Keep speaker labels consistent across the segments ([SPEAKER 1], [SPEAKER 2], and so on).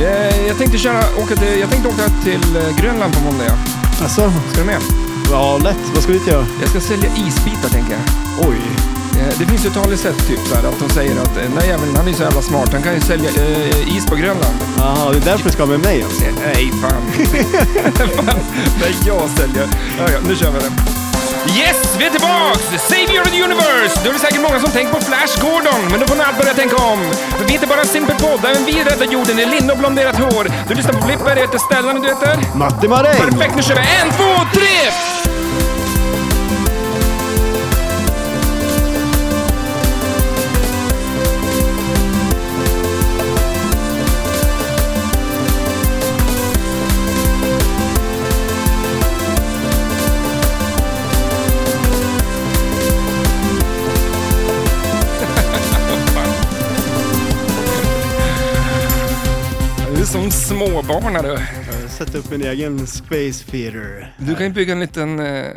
[SPEAKER 1] Eh, Jag tänkte, köra, åka till, jag tänkte åka till eh, Grönland på måndag. ja.
[SPEAKER 2] Alltså,
[SPEAKER 1] Ska du med?
[SPEAKER 2] ja lätt. Vad ska vi inte göra?
[SPEAKER 1] Jag ska sälja isbitar tänker jag.
[SPEAKER 2] Oj.
[SPEAKER 1] Eh, Det finns ju ett talesätt typ så här, att de säger att eh, den där jäveln han är så jävla smart. Han kan ju sälja eh, is på Grönland.
[SPEAKER 2] Jaha, det är därför du ska ha med mig alltså.
[SPEAKER 1] Eh, Nej, fan. Fan, Nej, jag säljer. Ja, ja, nu kör vi den. Yes, vi är tillbaks! Savior of the Universe! Då är det säkert många som tänkt på Flash Gordon, men då får ni allt börja tänka om. För vi är inte bara en simpel podd, även vi räddar jorden i linne och blonderat hår. Du lyssnar på Flipper, jag heter Stellan och du heter?
[SPEAKER 2] Matti Maräng!
[SPEAKER 1] Perfekt, nu kör vi! En, två, tre! Du är som småbarn, du.
[SPEAKER 2] Sätt upp min egen Space Theater.
[SPEAKER 1] Du kan ju bygga en liten eh,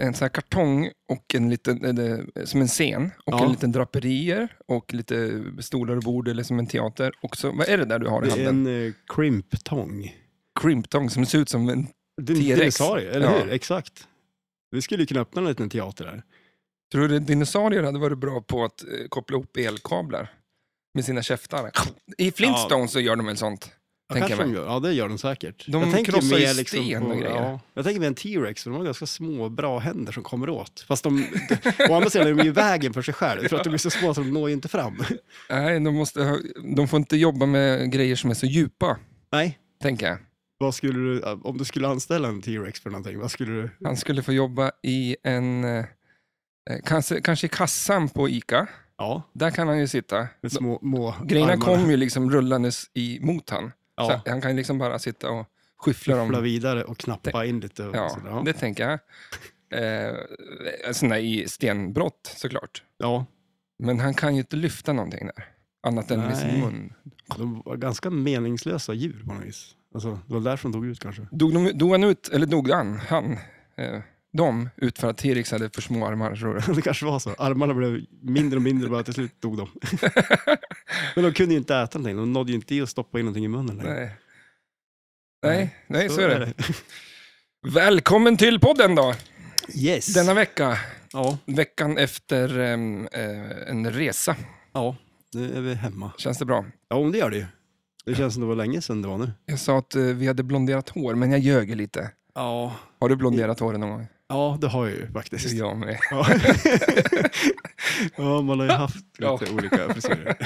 [SPEAKER 1] en sån här kartong och en liten, eller, som en scen och
[SPEAKER 2] Ja.
[SPEAKER 1] en liten draperier och lite stolar och bord eller som en teater. Och så, vad är det där du har i
[SPEAKER 2] Det är
[SPEAKER 1] handen?
[SPEAKER 2] en eh, krimptång.
[SPEAKER 1] Krimptång som ser ut som en...
[SPEAKER 2] Det är en
[SPEAKER 1] T-rex.
[SPEAKER 2] dinosaurie, eller
[SPEAKER 1] Ja.
[SPEAKER 2] hur? Exakt. Vi skulle ju kunna öppna en liten teater där.
[SPEAKER 1] Tror du dinosaurier hade varit bra på att eh, koppla ihop elkablar med sina käftar? I Flintstones så gör de väl sånt?
[SPEAKER 2] Ja,
[SPEAKER 1] Tänker
[SPEAKER 2] kanske
[SPEAKER 1] jag
[SPEAKER 2] de gör. Ja, det gör de säkert.
[SPEAKER 1] De
[SPEAKER 2] jag tänker
[SPEAKER 1] krossar ju
[SPEAKER 2] mer liksom
[SPEAKER 1] sten
[SPEAKER 2] på-
[SPEAKER 1] och grejer.
[SPEAKER 2] Ja, jag tänker mer en T-Rex, för de har ganska små, bra händer som kommer åt. Fast de, å andra sidan är de ju i vägen för sig själv, för att de är så små så de når ju inte fram.
[SPEAKER 1] Nej, de, måste, ha- de får inte jobba med grejer som är så djupa,
[SPEAKER 2] Nej,
[SPEAKER 1] tänker jag.
[SPEAKER 2] vad skulle du, om du skulle anställa en T-Rex för någonting, vad skulle du?
[SPEAKER 1] Han skulle få jobba i en... eh, eh, Kanske, kanske i kassan på ICA.
[SPEAKER 2] Ja,
[SPEAKER 1] Där kan han ju sitta.
[SPEAKER 2] med små, må
[SPEAKER 1] Grejerna
[SPEAKER 2] armarna.
[SPEAKER 1] kom ju liksom rullandes i, mot han.
[SPEAKER 2] Ja,
[SPEAKER 1] Så han kan ju liksom bara sitta och skyffla
[SPEAKER 2] fla
[SPEAKER 1] dem.
[SPEAKER 2] vidare och knappa in lite. Och
[SPEAKER 1] Ja,
[SPEAKER 2] sådär.
[SPEAKER 1] det tänker jag. Eh, sådana i stenbrott såklart.
[SPEAKER 2] ja,
[SPEAKER 1] Men han kan ju inte lyfta någonting där. Annat än med sin
[SPEAKER 2] Nej.
[SPEAKER 1] mun.
[SPEAKER 2] de var ganska meningslösa djur på något vis. Alltså, det var därför de dog ut kanske.
[SPEAKER 1] Dog, de, dog han ut, eller dog han, han, eh, de, ut för att T-Rex hade för små armar? Tror du?
[SPEAKER 2] Det kanske var så. Armarna blev mindre och mindre, bara till slut dog de. Men de kunde ju inte äta någonting. De nådde ju inte i att stoppa in någonting i munnen längre.
[SPEAKER 1] Nej. Nej, nej, så är det.
[SPEAKER 2] det.
[SPEAKER 1] Välkommen till podden då,
[SPEAKER 2] Yes.
[SPEAKER 1] denna vecka.
[SPEAKER 2] Ja,
[SPEAKER 1] Veckan efter em, eh, en resa.
[SPEAKER 2] ja, nu är vi hemma.
[SPEAKER 1] Känns det bra?
[SPEAKER 2] Ja, om det gör det ju. Det känns som det var länge sedan det var nu.
[SPEAKER 1] Jag sa att eh, vi hade blonderat hår, men jag ljög ju lite.
[SPEAKER 2] Ja,
[SPEAKER 1] Har du blonderat håret någon gång?
[SPEAKER 2] ja det har jag ju faktiskt.
[SPEAKER 1] Jag med.
[SPEAKER 2] Ja. ja, man har ju haft lite olika frisyrer.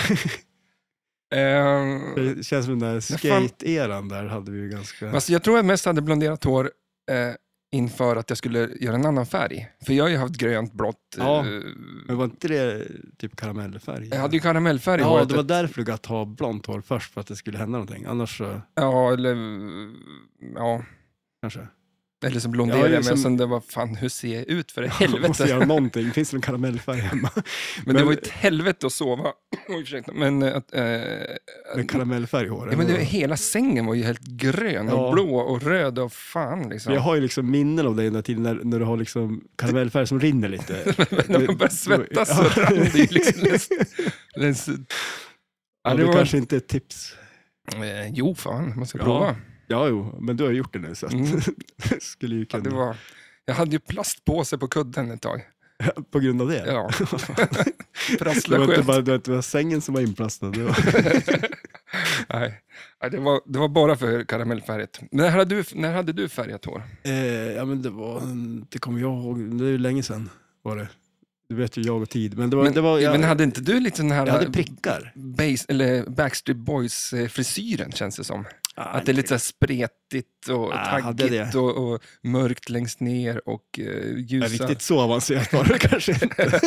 [SPEAKER 1] Ehm,
[SPEAKER 2] Det känns som den där
[SPEAKER 1] fan-
[SPEAKER 2] skate-eran där hade vi ju ganska...
[SPEAKER 1] alltså jag tror jag mest hade blonderat hår eh, inför att jag skulle göra en annan färg. För jag har ju haft grönt, blått. eh,
[SPEAKER 2] Ja. Men var inte det typ karamellfärg?
[SPEAKER 1] jag hade ju karamellfärg i
[SPEAKER 2] Ja,
[SPEAKER 1] håret.
[SPEAKER 2] det var därför du gatt ha blont hår först, för att det skulle hända någonting. Annars så
[SPEAKER 1] Ja, eller, ja,
[SPEAKER 2] kanske...
[SPEAKER 1] eller så blonderade
[SPEAKER 2] Ja, liksom-
[SPEAKER 1] jag, men
[SPEAKER 2] som-
[SPEAKER 1] sen det var fan, hur ser jag ut för i
[SPEAKER 2] Man måste
[SPEAKER 1] helvete?
[SPEAKER 2] göra någonting. Finns det någon karamellfärg hemma?
[SPEAKER 1] Men det
[SPEAKER 2] Men-
[SPEAKER 1] var ju ett helvete att sova. Oj, ursäkta. Men eh, att... eh,
[SPEAKER 2] Med karamellfärg i håret.
[SPEAKER 1] ja, men det, hela sängen var ju helt grön och
[SPEAKER 2] Ja.
[SPEAKER 1] blå och röd och fan liksom.
[SPEAKER 2] Jag har ju liksom minnen av dig den där tiden när, när du har liksom karamellfärg som rinner lite.
[SPEAKER 1] När man börjar svettas så rann det ju liksom... läs- läs-
[SPEAKER 2] Ja,
[SPEAKER 1] Ja,
[SPEAKER 2] det
[SPEAKER 1] det var,
[SPEAKER 2] kanske inte är ett tips.
[SPEAKER 1] eh, jo, fan, man ska
[SPEAKER 2] Ja.
[SPEAKER 1] prova.
[SPEAKER 2] Ja, jo, men du har ju gjort det nu så att
[SPEAKER 1] Mm.
[SPEAKER 2] skulle ju
[SPEAKER 1] Ja,
[SPEAKER 2] kunna.
[SPEAKER 1] det var, jag hade ju plastpåse på kudden ett tag.
[SPEAKER 2] På grund av det?
[SPEAKER 1] Ja.
[SPEAKER 2] det
[SPEAKER 1] Prassla
[SPEAKER 2] var inte
[SPEAKER 1] skönt.
[SPEAKER 2] bara det var, inte bara sängen som var inplastad. Det var...
[SPEAKER 1] Nej. Nej, det, var, det var bara för karamellfärget. När hade du, när hade du färgat hår?
[SPEAKER 2] eh, ja, men det var, det kommer jag ihåg, det är ju länge sedan var det. Du vet ju jag och tid, men det var,
[SPEAKER 1] Men,
[SPEAKER 2] det var jag,
[SPEAKER 1] men hade inte du lite den här
[SPEAKER 2] jag hade prickar.
[SPEAKER 1] base, eller Backstreet Boys-frisyren känns det som? Att det är lite så här spretigt och
[SPEAKER 2] Ah, hade jag
[SPEAKER 1] taggigt och, och mörkt längst ner och eh,
[SPEAKER 2] Ja,
[SPEAKER 1] ljusa.
[SPEAKER 2] riktigt så avancerat var det kanske inte.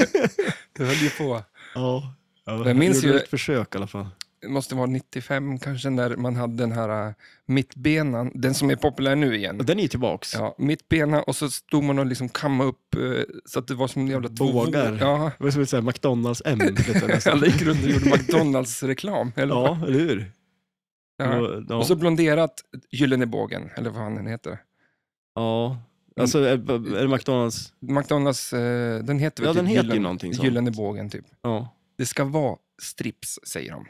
[SPEAKER 1] Du höll ju på.
[SPEAKER 2] ja. Ja,
[SPEAKER 1] Jag minns
[SPEAKER 2] gjorde
[SPEAKER 1] ju-
[SPEAKER 2] ett försök i alla fall.
[SPEAKER 1] Det måste vara 95 kanske, när man hade den här eh, mittbenan, den som är populär nu
[SPEAKER 2] Och
[SPEAKER 1] igen.
[SPEAKER 2] Den är ju tillbaks.
[SPEAKER 1] Ja, mittbena och så stod man och liksom kammade upp eh, så att det var som en jävla två
[SPEAKER 2] Bågar.
[SPEAKER 1] vågor. Ja,
[SPEAKER 2] Det var som ett sånt här McDonalds-M. lite nästan.
[SPEAKER 1] alla gick runt och gjorde McDonalds-reklam. Eller? vad?
[SPEAKER 2] ja, eller hur?
[SPEAKER 1] Ja.
[SPEAKER 2] Och, ja.
[SPEAKER 1] Och så blonderat Gyllene bågen, eller vad han den heter.
[SPEAKER 2] ja. Alltså, är, är det McDonalds?
[SPEAKER 1] McDonalds, eh, den heter väl
[SPEAKER 2] Ja,
[SPEAKER 1] typ
[SPEAKER 2] den heter ju
[SPEAKER 1] Gyllen-
[SPEAKER 2] någonting sånt.
[SPEAKER 1] Gyllene bågen typ.
[SPEAKER 2] Ja.
[SPEAKER 1] Det ska vara strips, säger de.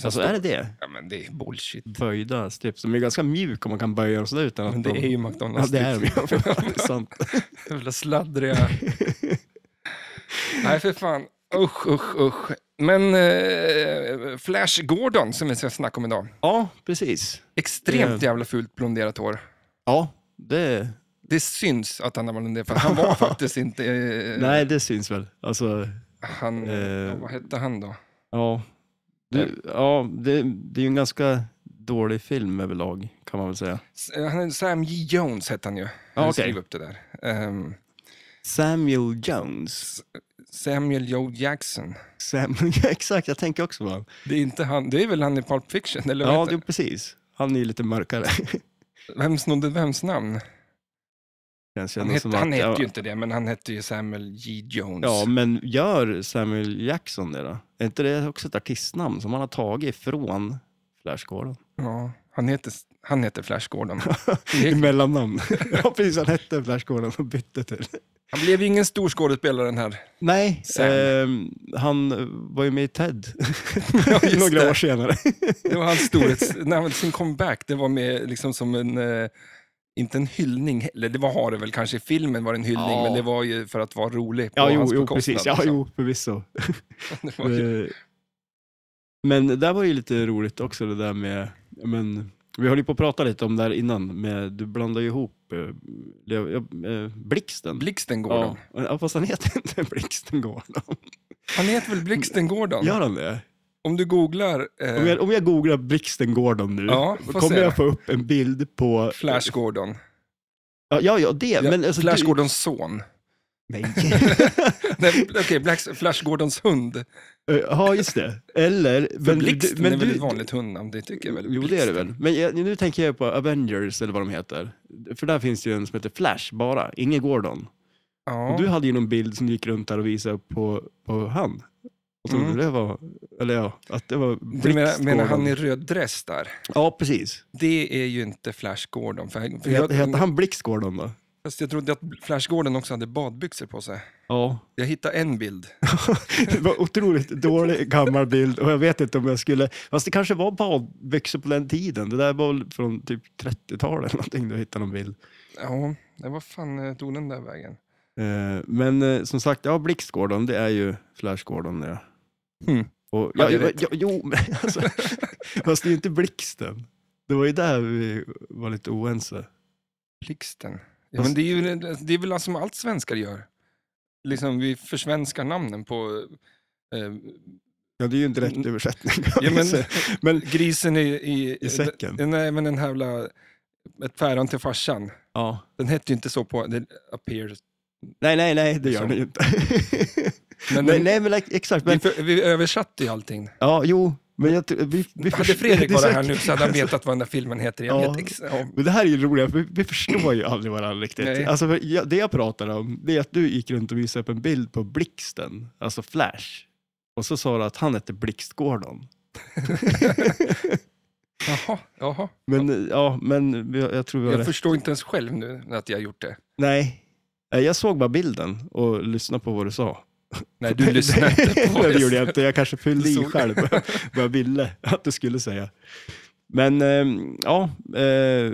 [SPEAKER 1] Så
[SPEAKER 2] Alltså
[SPEAKER 1] står-
[SPEAKER 2] är det det?
[SPEAKER 1] Ja, men det är bullshit.
[SPEAKER 2] Böjda strips. De är ganska mjuk om man kan böja dem sådär utan att
[SPEAKER 1] Men det
[SPEAKER 2] de...
[SPEAKER 1] är ju
[SPEAKER 2] Ja,
[SPEAKER 1] McDonalds.
[SPEAKER 2] det är de.
[SPEAKER 1] strips.
[SPEAKER 2] ju. Sant.
[SPEAKER 1] Jävla sladdriga. Nej, för fan. Usch, usch, usch. Men eh, Flash Gordon, som vi ska snacka om idag.
[SPEAKER 2] Ja, precis.
[SPEAKER 1] Extremt
[SPEAKER 2] Det-
[SPEAKER 1] jävla fult blonderat hår.
[SPEAKER 2] Ja, det...
[SPEAKER 1] Det syns att han har blonderat, för han var faktiskt inte... Eh,
[SPEAKER 2] Nej, det syns väl. Alltså,
[SPEAKER 1] Han,
[SPEAKER 2] Eh.
[SPEAKER 1] Vad hette han då?
[SPEAKER 2] ja. Du, ja, det, det är ju en ganska dålig film överlag, kan man väl säga.
[SPEAKER 1] S- eh, Han, Sam J. Jones hette han ju.
[SPEAKER 2] Ja,
[SPEAKER 1] Jag
[SPEAKER 2] okej.
[SPEAKER 1] skrev upp det där. Ehm,
[SPEAKER 2] Samuel Jones.
[SPEAKER 1] Samuel Joe Jackson.
[SPEAKER 2] Sam, exakt, jag tänker också på honom.
[SPEAKER 1] Det är, inte han, det är väl han i Pulp Fiction? Eller vad
[SPEAKER 2] Ja,
[SPEAKER 1] heter-
[SPEAKER 2] det, precis. Han är ju lite mörkare.
[SPEAKER 1] Vem snodde vems namn?
[SPEAKER 2] Känns ju
[SPEAKER 1] Han
[SPEAKER 2] ändå
[SPEAKER 1] hette,
[SPEAKER 2] som att-
[SPEAKER 1] han hette
[SPEAKER 2] ja,
[SPEAKER 1] ju inte det, men han hette ju Samuel J. Jones.
[SPEAKER 2] Ja, men gör Samuel Jackson det då? Är inte det också ett artistnamn som han har tagit från Flash Gordon?
[SPEAKER 1] Ja, han, heter, han heter Flash Gordon.
[SPEAKER 2] I mellannamn. ja, precis. Han hette Flash Gordon och bytte till.
[SPEAKER 1] Han blev ju ingen stor skådespelare den här.
[SPEAKER 2] Nej,
[SPEAKER 1] Sam.
[SPEAKER 2] ehm, han var ju med i Ted
[SPEAKER 1] Ja, just
[SPEAKER 2] några
[SPEAKER 1] det.
[SPEAKER 2] år senare.
[SPEAKER 1] Det var hans storhets... när han, sin comeback, det var med liksom som en... Eh, inte en hyllning, eller det var har det väl kanske i filmen var det en hyllning,
[SPEAKER 2] Ja.
[SPEAKER 1] men det var ju för att vara rolig på
[SPEAKER 2] Ja, jo,
[SPEAKER 1] hans
[SPEAKER 2] jo
[SPEAKER 1] bekostnad,
[SPEAKER 2] precis. Ja,
[SPEAKER 1] liksom.
[SPEAKER 2] jo, förvisso.
[SPEAKER 1] Det var ju...
[SPEAKER 2] Eh, Men det där var ju lite roligt också det där med, ja, men, vi höll ju på att prata lite om det här innan, med, du blandar ju ihop eh, det- ja, eh, Blixten.
[SPEAKER 1] Blixten Gordon.
[SPEAKER 2] Ja, ja, fast han heter inte Blixten Gordon.
[SPEAKER 1] Han heter väl Blixten Gordon?
[SPEAKER 2] Gör han det?
[SPEAKER 1] Om du googlar... Eh,
[SPEAKER 2] Om jag, om jag googlar Blixten Gordon nu,
[SPEAKER 1] Ja, får
[SPEAKER 2] kommer
[SPEAKER 1] se.
[SPEAKER 2] jag få upp en bild på...
[SPEAKER 1] Flash Gordon.
[SPEAKER 2] Ja, ja, ja det.
[SPEAKER 1] Ja,
[SPEAKER 2] men, alltså,
[SPEAKER 1] Flash
[SPEAKER 2] du-
[SPEAKER 1] Gordons son.
[SPEAKER 2] Nej.
[SPEAKER 1] Nej, Okej, Blacks- Flash Gordons hund.
[SPEAKER 2] Eh, ja, just det. Eller...
[SPEAKER 1] För
[SPEAKER 2] men du-
[SPEAKER 1] Blixten
[SPEAKER 2] men
[SPEAKER 1] är väl
[SPEAKER 2] du-
[SPEAKER 1] ett vanligt hundnamn, det tycker jag väl.
[SPEAKER 2] Jo, det är det väl. Men jag, nu tänker jag på Avengers, eller vad de heter. För där finns det ju en som heter Flash bara, ingen Gordon.
[SPEAKER 1] Ja.
[SPEAKER 2] Och du hade ju någon bild som gick runt där och visade på, på han. Och trodde
[SPEAKER 1] Mm.
[SPEAKER 2] det var, eller ja, att det var
[SPEAKER 1] Du
[SPEAKER 2] Blix
[SPEAKER 1] menar, menar
[SPEAKER 2] Gordon.
[SPEAKER 1] han i röd dress där?
[SPEAKER 2] Ja, precis.
[SPEAKER 1] Det är ju inte Flash Gordon. För, för jag,
[SPEAKER 2] Hette, hette han Blix Gordon då?
[SPEAKER 1] fast jag trodde att Flash Gordon också hade badbyxor på sig.
[SPEAKER 2] Ja.
[SPEAKER 1] Jag hittade en bild.
[SPEAKER 2] Det var otroligt dålig gammal bild och jag vet inte om jag skulle... Fast det kanske var badbyxor på den tiden. Det där var väl från typ 30-talet eller någonting, du hittade någon bild.
[SPEAKER 1] Ja, nej, vad fan eh, tog den där vägen?
[SPEAKER 2] Eh, Men eh, som sagt, ja, Blix Gordon, det är ju Flash Gordon. Ja.
[SPEAKER 1] Mm.
[SPEAKER 2] Och,
[SPEAKER 1] Ja,
[SPEAKER 2] ja,
[SPEAKER 1] det är
[SPEAKER 2] ja,
[SPEAKER 1] rätt.
[SPEAKER 2] ja, jo, men alltså, fast det är ju inte blixten. Det var ju där vi var lite oense.
[SPEAKER 1] Blixten. Ja, men det, är ju, det är väl som allt svenskar gör. Liksom, vi försvenskar namnen på... Eh,
[SPEAKER 2] Ja, det är ju en direkt översättning.
[SPEAKER 1] ja, men,
[SPEAKER 2] men
[SPEAKER 1] grisen i... I,
[SPEAKER 2] I säcken.
[SPEAKER 1] Eh, Nej, men den här jävla... Ett päron till farsan.
[SPEAKER 2] ja.
[SPEAKER 1] Den hette ju inte så på... Det appears.
[SPEAKER 2] Nej, nej, nej, det gör
[SPEAKER 1] Så.
[SPEAKER 2] ni ju inte.
[SPEAKER 1] Liksom. Men,
[SPEAKER 2] nej,
[SPEAKER 1] den-
[SPEAKER 2] nej, men like, exakt.
[SPEAKER 1] Vi,
[SPEAKER 2] Men,
[SPEAKER 1] för, vi översatte ju allting.
[SPEAKER 2] ja, jo, men jag, tror- vi, vi
[SPEAKER 1] Hade Fredrik
[SPEAKER 2] det är
[SPEAKER 1] varit
[SPEAKER 2] säkert-
[SPEAKER 1] här nu så hade han vetat vad den där filmen heter. Jag
[SPEAKER 2] Ja.
[SPEAKER 1] vet ex- ja.
[SPEAKER 2] Men det här är ju roligt, för vi, vi förstår ju aldrig varandra riktigt.
[SPEAKER 1] Nej.
[SPEAKER 2] Alltså, för jag, det jag pratar om, det är att du gick runt och visade upp en bild på blixten, alltså Flash. Och så sa du att han hette Blixt Gordon.
[SPEAKER 1] Jaha, jaha.
[SPEAKER 2] Men ja, men vi- jag tror vi har
[SPEAKER 1] Jag
[SPEAKER 2] rätt.
[SPEAKER 1] förstår inte ens själv nu att jag har gjort det.
[SPEAKER 2] Nej. Nej, Jag såg bara bilden och lyssnade på vad du sa.
[SPEAKER 1] Nej, du lyssnade inte på
[SPEAKER 2] Nej, det gjorde
[SPEAKER 1] det.
[SPEAKER 2] jag inte. Jag kanske fyllde
[SPEAKER 1] Du
[SPEAKER 2] i
[SPEAKER 1] såg-
[SPEAKER 2] själv vad jag ville att du skulle säga. Men ehm, ja, eh,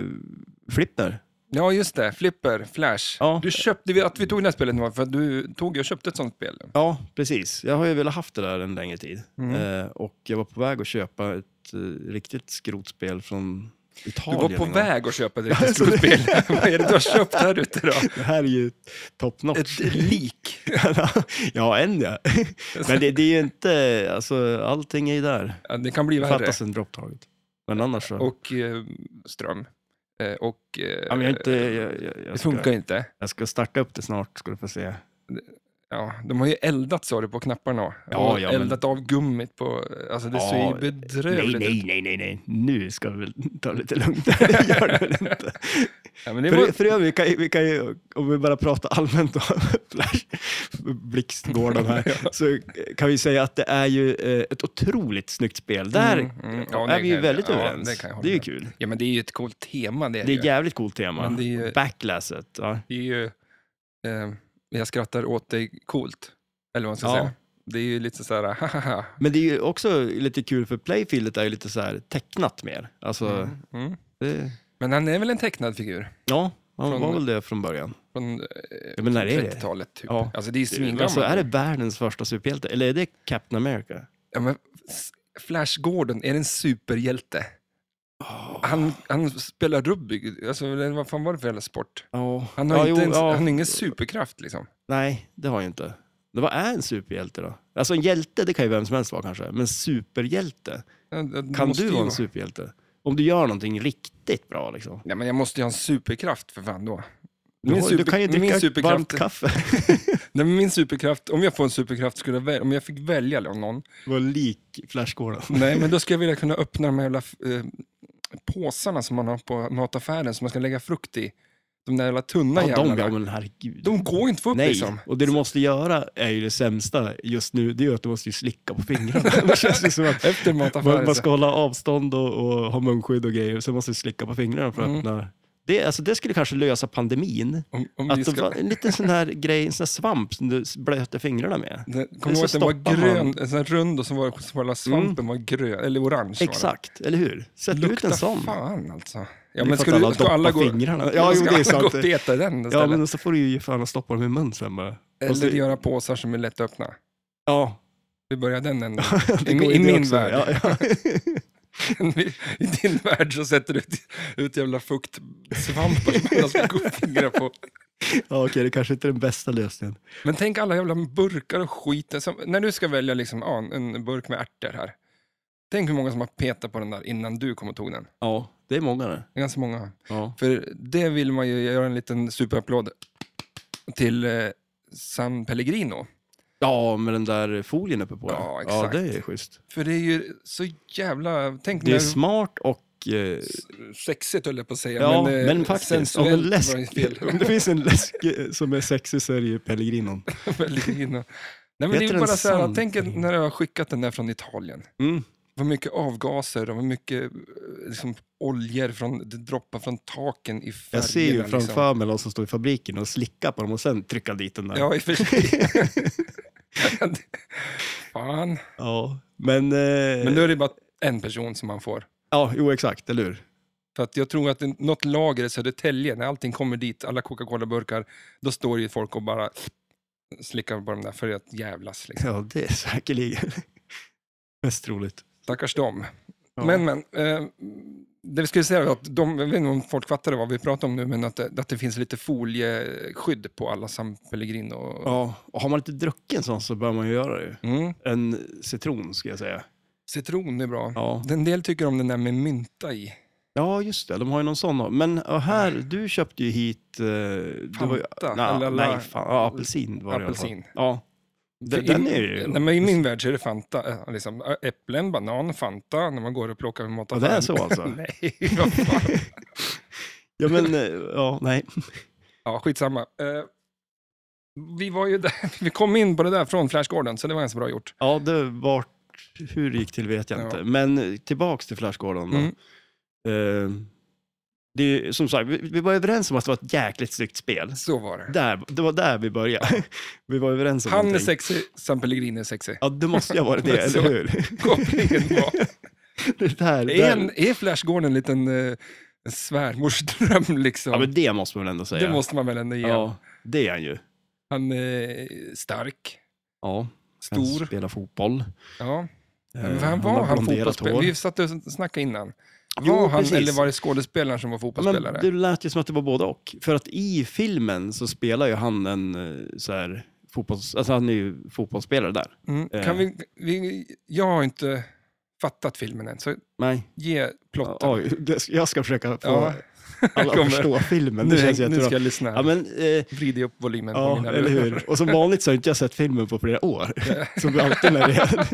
[SPEAKER 2] Flipper.
[SPEAKER 1] Ja, just det. Flipper, Flash.
[SPEAKER 2] Ja.
[SPEAKER 1] Du köpte, vi- att vi tog det här spelet nu var för att du tog och köpte ett sånt spel.
[SPEAKER 2] Ja, precis. Jag har ju velat haft det där en längre tid.
[SPEAKER 1] Mm.
[SPEAKER 2] Eh, och jag var på väg att köpa ett eh, riktigt skrotspel från
[SPEAKER 1] Du
[SPEAKER 2] Italien.
[SPEAKER 1] var på
[SPEAKER 2] en gång.
[SPEAKER 1] väg att köpa
[SPEAKER 2] Ja,
[SPEAKER 1] ett
[SPEAKER 2] så
[SPEAKER 1] stort
[SPEAKER 2] det-
[SPEAKER 1] spel. Vad är det du har köpt här ute då?
[SPEAKER 2] Det här är ju top notch.
[SPEAKER 1] Ett lik.
[SPEAKER 2] ja, en ja. Men det, det är ju inte, alltså allting är ju där.
[SPEAKER 1] Ja, Det kan bli
[SPEAKER 2] Det
[SPEAKER 1] värre.
[SPEAKER 2] fattas en dropptaget. Men annars så.
[SPEAKER 1] Och eh, ström. Eh, och... eh,
[SPEAKER 2] ja, men jag, är inte, jag, jag,
[SPEAKER 1] det
[SPEAKER 2] jag,
[SPEAKER 1] funkar
[SPEAKER 2] ska,
[SPEAKER 1] inte.
[SPEAKER 2] jag ska starta upp det snart, ska du få se.
[SPEAKER 1] Ja, de har ju eldat sa du på knapparna.
[SPEAKER 2] Ja,
[SPEAKER 1] och
[SPEAKER 2] ja, men-
[SPEAKER 1] eldat av gummit på... Alltså det ser
[SPEAKER 2] Ja,
[SPEAKER 1] ju bedrövligt ut.
[SPEAKER 2] nej, nej, nej, nej. Nu ska vi väl ta det lite lugnt. det gör det väl inte.
[SPEAKER 1] Ja, men det
[SPEAKER 2] För,
[SPEAKER 1] var...
[SPEAKER 2] för övrigt, vi kan, ju- vi kan ju, om vi bara pratar allmänt om Flash, Blixtgården här, så kan vi säga att det är ju eh, ett otroligt snyggt spel. Där
[SPEAKER 1] Mm, mm. Ja, det
[SPEAKER 2] är vi ju
[SPEAKER 1] kan-
[SPEAKER 2] väldigt
[SPEAKER 1] ja,
[SPEAKER 2] överens.
[SPEAKER 1] det kan jag hålla
[SPEAKER 2] är ju
[SPEAKER 1] med.
[SPEAKER 2] kul.
[SPEAKER 1] ja, men det är ju ett coolt tema det. Är
[SPEAKER 2] Det
[SPEAKER 1] det,
[SPEAKER 2] är ett jävligt coolt tema.
[SPEAKER 1] Men det är ju-
[SPEAKER 2] Backlasset, ja.
[SPEAKER 1] det är ju... Eh, jag skrattar åt dig coolt. Eller vad man ska
[SPEAKER 2] Ja.
[SPEAKER 1] säga. Det är ju lite så här, hahaha.
[SPEAKER 2] Men det är ju också lite kul för Playfieldet är ju lite så här tecknat mer. Alltså,
[SPEAKER 1] Mm.
[SPEAKER 2] det,
[SPEAKER 1] Men han är väl en tecknad figur?
[SPEAKER 2] ja, han
[SPEAKER 1] Från-
[SPEAKER 2] var väl det från början.
[SPEAKER 1] Från eh,
[SPEAKER 2] Ja, men när är det?
[SPEAKER 1] 30-talet typ.
[SPEAKER 2] Ja.
[SPEAKER 1] Alltså det är svingammalt.
[SPEAKER 2] Alltså, är det världens första superhjälte? Eller är det Captain America?
[SPEAKER 1] ja, men S- Flash Gordon, är det en superhjälte? Han, han spelar rugby, alltså, eller vad fan var det för jävla sport?
[SPEAKER 2] Ja.
[SPEAKER 1] Han har, inte
[SPEAKER 2] jo,
[SPEAKER 1] ens,
[SPEAKER 2] ja.
[SPEAKER 1] han har ingen superkraft liksom.
[SPEAKER 2] Nej, det har jag inte. Men vad är en superhjälte då? Alltså en hjälte, det kan ju vem som helst vara kanske. Men superhjälte?
[SPEAKER 1] Jag- jag
[SPEAKER 2] Kan
[SPEAKER 1] måste
[SPEAKER 2] du
[SPEAKER 1] ju
[SPEAKER 2] vara en superhjälte? Om du gör någonting riktigt bra liksom.
[SPEAKER 1] Ja, men jag måste ju ha en superkraft för fan då.
[SPEAKER 2] Du,
[SPEAKER 1] Min
[SPEAKER 2] har- du
[SPEAKER 1] super-
[SPEAKER 2] kan ju
[SPEAKER 1] min
[SPEAKER 2] dricka
[SPEAKER 1] superkraft-
[SPEAKER 2] varmt kaffe.
[SPEAKER 1] Nej, men min superkraft, om jag får en superkraft, skulle jag väl, om jag fick välja någon,
[SPEAKER 2] Var lik Flash Gordon.
[SPEAKER 1] nej men då skulle jag vilja kunna öppna de här jävla eh, påsarna som man har på mataffären som man ska lägga frukt i. De där jävla tunna
[SPEAKER 2] Ja, de,
[SPEAKER 1] jävlarna.
[SPEAKER 2] ja,
[SPEAKER 1] De,
[SPEAKER 2] men herregud.
[SPEAKER 1] går ju inte att få upp
[SPEAKER 2] Nej,
[SPEAKER 1] liksom.
[SPEAKER 2] och det du måste göra är ju det sämsta just nu, det är ju att du måste ju slicka på fingrarna. det känns ju som att
[SPEAKER 1] Efter
[SPEAKER 2] man,
[SPEAKER 1] mataffären.
[SPEAKER 2] man ska hålla avstånd och, och ha munskydd och grejer, så måste du slicka på fingrarna för att
[SPEAKER 1] Mm.
[SPEAKER 2] öppna. Det, alltså, det skulle kanske lösa pandemin.
[SPEAKER 1] så- om, om vi
[SPEAKER 2] Att det
[SPEAKER 1] ska,
[SPEAKER 2] var en liten sån här grej, en sån här svamp som du blöter fingrarna med.
[SPEAKER 1] den, kommer du
[SPEAKER 2] så
[SPEAKER 1] ihåg att den var
[SPEAKER 2] stoppar man.
[SPEAKER 1] grön, en sån här rund och så var så var svampen var grön, eller orange var
[SPEAKER 2] Exakt, eller hur? Sätt
[SPEAKER 1] den.
[SPEAKER 2] ut en sån.
[SPEAKER 1] fan alltså.
[SPEAKER 2] Det
[SPEAKER 1] Ja,
[SPEAKER 2] är
[SPEAKER 1] men
[SPEAKER 2] för
[SPEAKER 1] ska,
[SPEAKER 2] att
[SPEAKER 1] du,
[SPEAKER 2] alla
[SPEAKER 1] ska alla
[SPEAKER 2] doppar
[SPEAKER 1] gå,
[SPEAKER 2] fingrarna. Ja, jo,
[SPEAKER 1] ska
[SPEAKER 2] det är
[SPEAKER 1] alla gå
[SPEAKER 2] sant.
[SPEAKER 1] och peta i den istället?
[SPEAKER 2] Ja, men så får du ju fan stoppa dem i mun sen bara. Och så-
[SPEAKER 1] Eller göra påsar som är lättöppna.
[SPEAKER 2] Ja,
[SPEAKER 1] Vi börjar den änden.
[SPEAKER 2] det
[SPEAKER 1] I
[SPEAKER 2] går
[SPEAKER 1] min-
[SPEAKER 2] ju
[SPEAKER 1] i
[SPEAKER 2] det
[SPEAKER 1] min
[SPEAKER 2] också.
[SPEAKER 1] värld.
[SPEAKER 2] Ja, ja.
[SPEAKER 1] I din värld så sätter du ut, ut jävla fuktsvampar som alla ska gå och fingra på.
[SPEAKER 2] Ja, okej, det kanske inte är den bästa lösningen.
[SPEAKER 1] Men tänk alla jävla burkar och skit. Som, när du ska välja liksom, ja, en en burk med ärtor här. Tänk hur många som har petat på den där innan du kom och tog den.
[SPEAKER 2] Ja, det är många det.
[SPEAKER 1] Det är Ganska många.
[SPEAKER 2] Ja.
[SPEAKER 1] För det vill man ju göra en liten superapplåd till eh, San Pellegrino.
[SPEAKER 2] ja, med den där folien uppe på.
[SPEAKER 1] Ja, exakt.
[SPEAKER 2] Ja, det är schysst.
[SPEAKER 1] För det är ju så jävla... Tänk
[SPEAKER 2] Det är
[SPEAKER 1] när...
[SPEAKER 2] smart och... Eh,
[SPEAKER 1] Sexigt höll jag på att säga,
[SPEAKER 2] ja,
[SPEAKER 1] men,
[SPEAKER 2] men,
[SPEAKER 1] eh,
[SPEAKER 2] faktiskt. Om,
[SPEAKER 1] sensuellt
[SPEAKER 2] en
[SPEAKER 1] var det
[SPEAKER 2] läsk,
[SPEAKER 1] fel.
[SPEAKER 2] om det finns en läsk eh, som är sexig så är det ju Pellegrinon.
[SPEAKER 1] Pellegrino. Nej, men det
[SPEAKER 2] Heter
[SPEAKER 1] är ju
[SPEAKER 2] den
[SPEAKER 1] bara så här,
[SPEAKER 2] San
[SPEAKER 1] tänk er
[SPEAKER 2] Pellegrino?
[SPEAKER 1] när jag har skickat den där från Italien.
[SPEAKER 2] Mm.
[SPEAKER 1] Vad mycket avgaser och vad mycket eh, liksom, oljor från, det droppar från taken i färgerna.
[SPEAKER 2] Jag ser ju
[SPEAKER 1] liksom.
[SPEAKER 2] framför mig någon som står i fabriken och slickar på dem och sen trycka dit den där.
[SPEAKER 1] Ja, i och för sig. Fan.
[SPEAKER 2] Eh. Ja, Men, eh,
[SPEAKER 1] Men nu är det bara en person som man får.
[SPEAKER 2] Ja, jo exakt, eller hur?
[SPEAKER 1] För att jag tror att det- något lager i Södertälje, när allting kommer dit, alla Coca-Cola-burkar, då står ju folk och bara slickar på dem där för att jävlas. Liksom.
[SPEAKER 2] Ja, det är säkerligen mest troligt.
[SPEAKER 1] Stackars dem.
[SPEAKER 2] Ja.
[SPEAKER 1] Men, men. Eh, det vi skulle säga var att de, jag vet inte om folk fattade vad vi pratar om nu, men att det, att det finns lite folieskydd på alla San Pellegrino.
[SPEAKER 2] Ja, och har man inte druckit en sån så bör man ju göra det. ju.
[SPEAKER 1] Mm.
[SPEAKER 2] En citron ska jag säga.
[SPEAKER 1] Citron är bra.
[SPEAKER 2] Ja,
[SPEAKER 1] En del tycker om den där med mynta i.
[SPEAKER 2] ja just det. De har ju någon sån. då. Men och här, du köpte ju hit... Eh, du var ju,
[SPEAKER 1] Fanta,
[SPEAKER 2] na,
[SPEAKER 1] eller alla-
[SPEAKER 2] nej, fan, ja, apelsin var det i alla fall.
[SPEAKER 1] Apelsin.
[SPEAKER 2] Ja, den,
[SPEAKER 1] För
[SPEAKER 2] den
[SPEAKER 1] i-
[SPEAKER 2] är ju...
[SPEAKER 1] Nej, men I min värld så är det Fanta. eh, Liksom, Ä- äpplen, banan, Fanta när man går och plockar med
[SPEAKER 2] Ja,
[SPEAKER 1] mataffären.
[SPEAKER 2] det är så alltså?
[SPEAKER 1] Nej, vad fan.
[SPEAKER 2] ja, men eh, ja, nej.
[SPEAKER 1] Ja, skitsamma. Eh, vi var ju där, vi kom in på det där från Flashgården, så det var ganska bra gjort.
[SPEAKER 2] Ja, det vart... Hur det gick till vet jag
[SPEAKER 1] Ja.
[SPEAKER 2] inte. Men eh, tillbaks till Flash Gordon då.
[SPEAKER 1] Mm.
[SPEAKER 2] Eh, det är, ju- som sagt, vi, vi var överens om att det var ett jäkligt snyggt spel.
[SPEAKER 1] Så var det.
[SPEAKER 2] Där, det var där vi började. Vi var överens om
[SPEAKER 1] Han är
[SPEAKER 2] någonting.
[SPEAKER 1] sexig, San Pellegrino är sexig.
[SPEAKER 2] Ja, det måste ju ha varit det,
[SPEAKER 1] Så.
[SPEAKER 2] eller hur?
[SPEAKER 1] Kopplingen var...
[SPEAKER 2] Det här, det
[SPEAKER 1] Är,
[SPEAKER 2] här.
[SPEAKER 1] en, är Flash Gordon en liten eh, svärmorsdröm liksom?
[SPEAKER 2] Ja, men det måste man väl ändå säga.
[SPEAKER 1] det måste man väl ändå ge.
[SPEAKER 2] ja, det är han ju.
[SPEAKER 1] Han är stark,
[SPEAKER 2] Ja, han
[SPEAKER 1] stor.
[SPEAKER 2] spelar fotboll.
[SPEAKER 1] Ja. Men
[SPEAKER 2] Eh,
[SPEAKER 1] han var
[SPEAKER 2] har
[SPEAKER 1] han
[SPEAKER 2] blonderat
[SPEAKER 1] fotbollsspelare?
[SPEAKER 2] hår.
[SPEAKER 1] Vi satt och snackade innan.
[SPEAKER 2] Jo,
[SPEAKER 1] var han
[SPEAKER 2] precis.
[SPEAKER 1] eller var det skådespelaren som var
[SPEAKER 2] Ja,
[SPEAKER 1] fotbollsspelare?
[SPEAKER 2] Men det lät ju som att det var både och. För att i filmen så spelar ju han en eh, så här, fotbolls... Alltså han är ju fotbollsspelare där.
[SPEAKER 1] mm.
[SPEAKER 2] eh.
[SPEAKER 1] kan vi, vi, jag har inte fattat filmen än, så
[SPEAKER 2] Nej.
[SPEAKER 1] ge plotten.
[SPEAKER 2] Oj, det- jag ska försöka få
[SPEAKER 1] Ja.
[SPEAKER 2] alla
[SPEAKER 1] Kommer.
[SPEAKER 2] att förstå filmen.
[SPEAKER 1] nu,
[SPEAKER 2] Det känns
[SPEAKER 1] nu ska
[SPEAKER 2] jättebra.
[SPEAKER 1] jag lyssna.
[SPEAKER 2] Ja, men, eh,
[SPEAKER 1] Vrider upp volymen på
[SPEAKER 2] Ja,
[SPEAKER 1] mina
[SPEAKER 2] eller
[SPEAKER 1] lurar.
[SPEAKER 2] hur. Och som vanligt så har inte jag sett filmen på flera år. Som det alltid när det är.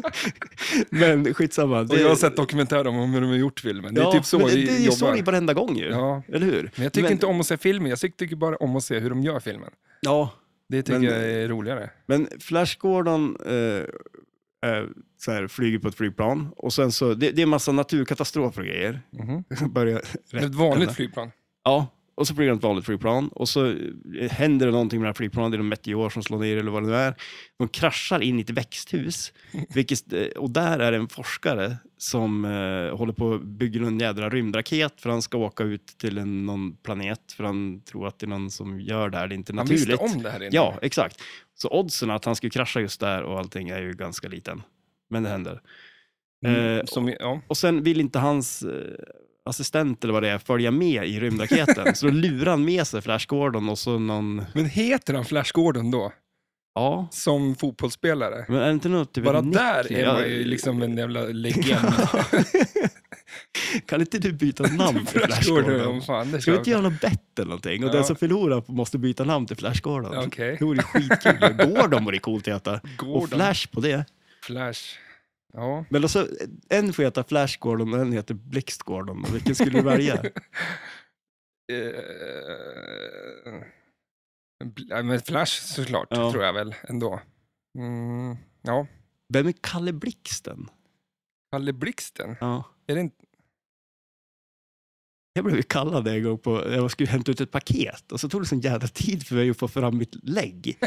[SPEAKER 2] Men skitsamma.
[SPEAKER 1] Och jag har sett dokumentärer om hur de har gjort filmen. Det är
[SPEAKER 2] Ja,
[SPEAKER 1] typ så
[SPEAKER 2] men
[SPEAKER 1] vi
[SPEAKER 2] det, det är ju
[SPEAKER 1] jobbar.
[SPEAKER 2] så i varenda gång ju.
[SPEAKER 1] ja.
[SPEAKER 2] Eller hur?
[SPEAKER 1] Men jag tycker inte om att se filmen, jag tycker bara om att se hur de gör filmen.
[SPEAKER 2] Ja,
[SPEAKER 1] Det tycker
[SPEAKER 2] Men-
[SPEAKER 1] jag är roligare.
[SPEAKER 2] men Flash Gordon eh, eh, så här, flyger på ett flygplan och sen så, det, det är en massa naturkatastrofer och grejer.
[SPEAKER 1] Mhm.
[SPEAKER 2] Börjar,
[SPEAKER 1] Ett vanligt flygplan.
[SPEAKER 2] ja, Och så flyger han ett vanligt flygplan och så eh, händer det någonting med det här flygplanet, det är någon meteor som slår ner eller vad det nu är. De kraschar in i ett växthus, vilket, eh, och där är det en forskare som eh, håller på att bygga en jädra rymdraket för han ska åka ut till en, någon planet för han tror att det är någon som gör det här, det är inte
[SPEAKER 1] Han
[SPEAKER 2] naturligt.
[SPEAKER 1] visste om det här innan.
[SPEAKER 2] Ja, exakt. Så oddsen att han skulle krascha just där och allting är ju ganska liten. Men det händer. Eh,
[SPEAKER 1] Mm, som, ja.
[SPEAKER 2] Och sen vill inte hans eh, assistent eller vad det är följa med i rymdraketen. så då lurar han med sig Flash Gordon och så någon...
[SPEAKER 1] Men heter han Flash Gordon då?
[SPEAKER 2] Ja.
[SPEAKER 1] Som fotbollsspelare?
[SPEAKER 2] Men är det inte något typ
[SPEAKER 1] Bara
[SPEAKER 2] en
[SPEAKER 1] där
[SPEAKER 2] Nicky?
[SPEAKER 1] är man
[SPEAKER 2] Ja,
[SPEAKER 1] ju liksom en jävla legend.
[SPEAKER 2] Kan inte du byta namn till
[SPEAKER 1] Flash Gordon, fan det
[SPEAKER 2] Ska vi
[SPEAKER 1] kör
[SPEAKER 2] inte
[SPEAKER 1] vi.
[SPEAKER 2] göra något bett eller någonting? Och
[SPEAKER 1] Ja.
[SPEAKER 2] den som förlorar måste byta namn till Flash Gordon.
[SPEAKER 1] Okej,
[SPEAKER 2] Det vore ju skitkul. Gordon vore det coolt att heta. Och
[SPEAKER 1] Gordon,
[SPEAKER 2] Flash på det.
[SPEAKER 1] Flash. Ja.
[SPEAKER 2] Men alltså, en får heta Flash Gordon och en heter Blixt Gordon. Vilken skulle du välja?
[SPEAKER 1] Eh, bl- ja, eh, men Flash såklart,
[SPEAKER 2] Ja.
[SPEAKER 1] tror jag väl ändå. Mm, ja,
[SPEAKER 2] Vem är Kalle Blixten?
[SPEAKER 1] Kalle Blixten.
[SPEAKER 2] Ja.
[SPEAKER 1] Är det inte...
[SPEAKER 2] Jag blev ju kallad en gång på, jag skulle hämta ut ett paket och så tog det sån jävla tid för mig att få fram mitt lägg.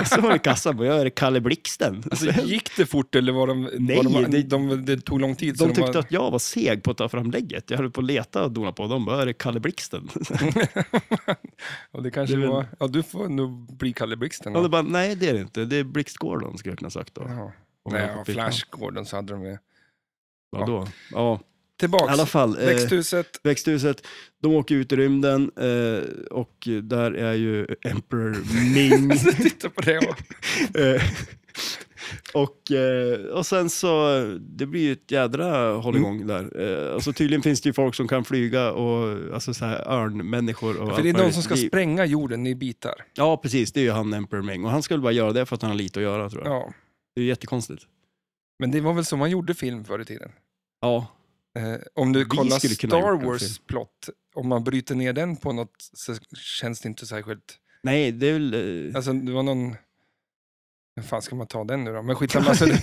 [SPEAKER 2] Och så var det kassan och jag är Kalle Blixten.
[SPEAKER 1] Alltså,
[SPEAKER 2] Så jag-
[SPEAKER 1] gick det fort eller var de...
[SPEAKER 2] Nej,
[SPEAKER 1] var de,
[SPEAKER 2] det-
[SPEAKER 1] det, de, det tog lång tid. så
[SPEAKER 2] de tyckte
[SPEAKER 1] var,
[SPEAKER 2] att jag var seg på att ta fram lägget. Jag höll på att leta och dona på och de bara, är det Kalle Blixten?
[SPEAKER 1] och det kanske
[SPEAKER 2] Det är väl-
[SPEAKER 1] var... Ja, du får nog bli Kalle Blixten.
[SPEAKER 2] Och
[SPEAKER 1] då.
[SPEAKER 2] de bara, nej det är det inte, det är Blixt Gordon skulle jag kunna ha sagt då.
[SPEAKER 1] Ja.
[SPEAKER 2] Om
[SPEAKER 1] Nej,
[SPEAKER 2] jag hade
[SPEAKER 1] ja,
[SPEAKER 2] fått byta.
[SPEAKER 1] Flash Gordon så hade de ju...
[SPEAKER 2] Vadå? Ja, i
[SPEAKER 1] Tillbaks,
[SPEAKER 2] alla fall. eh,
[SPEAKER 1] växthuset.
[SPEAKER 2] växthuset. De åker ut i rymden eh, och där är ju Emperor Ming.
[SPEAKER 1] Titta på det. och-
[SPEAKER 2] Eh, och, eh, och sen så, det blir ju ett jädra
[SPEAKER 1] Mm.
[SPEAKER 2] hålligång där. Eh, Alltså tydligen finns det ju folk som kan flyga och alltså så här örnmänniskor. Och
[SPEAKER 1] För
[SPEAKER 2] allt
[SPEAKER 1] det är någon
[SPEAKER 2] möjligt.
[SPEAKER 1] som ska
[SPEAKER 2] Vi-
[SPEAKER 1] spränga jorden i bitar.
[SPEAKER 2] Ja, precis. Det är ju han Emperor Ming. Och han skulle bara göra det för att han har lite att göra tror jag.
[SPEAKER 1] Ja.
[SPEAKER 2] Det är ju jättekonstigt.
[SPEAKER 1] Men det var väl så man gjorde film förr i tiden?
[SPEAKER 2] Ja,
[SPEAKER 1] Eh, om du
[SPEAKER 2] Vi
[SPEAKER 1] kollar
[SPEAKER 2] skulle kunna ha gjort
[SPEAKER 1] Star
[SPEAKER 2] en
[SPEAKER 1] Wars
[SPEAKER 2] film.
[SPEAKER 1] plott, om man bryter ner den på något så känns det inte särskilt...
[SPEAKER 2] nej det är väl... eh,
[SPEAKER 1] Alltså det var någon... Hur fan ska man ta den nu då? Men skitsamma. Alltså, det...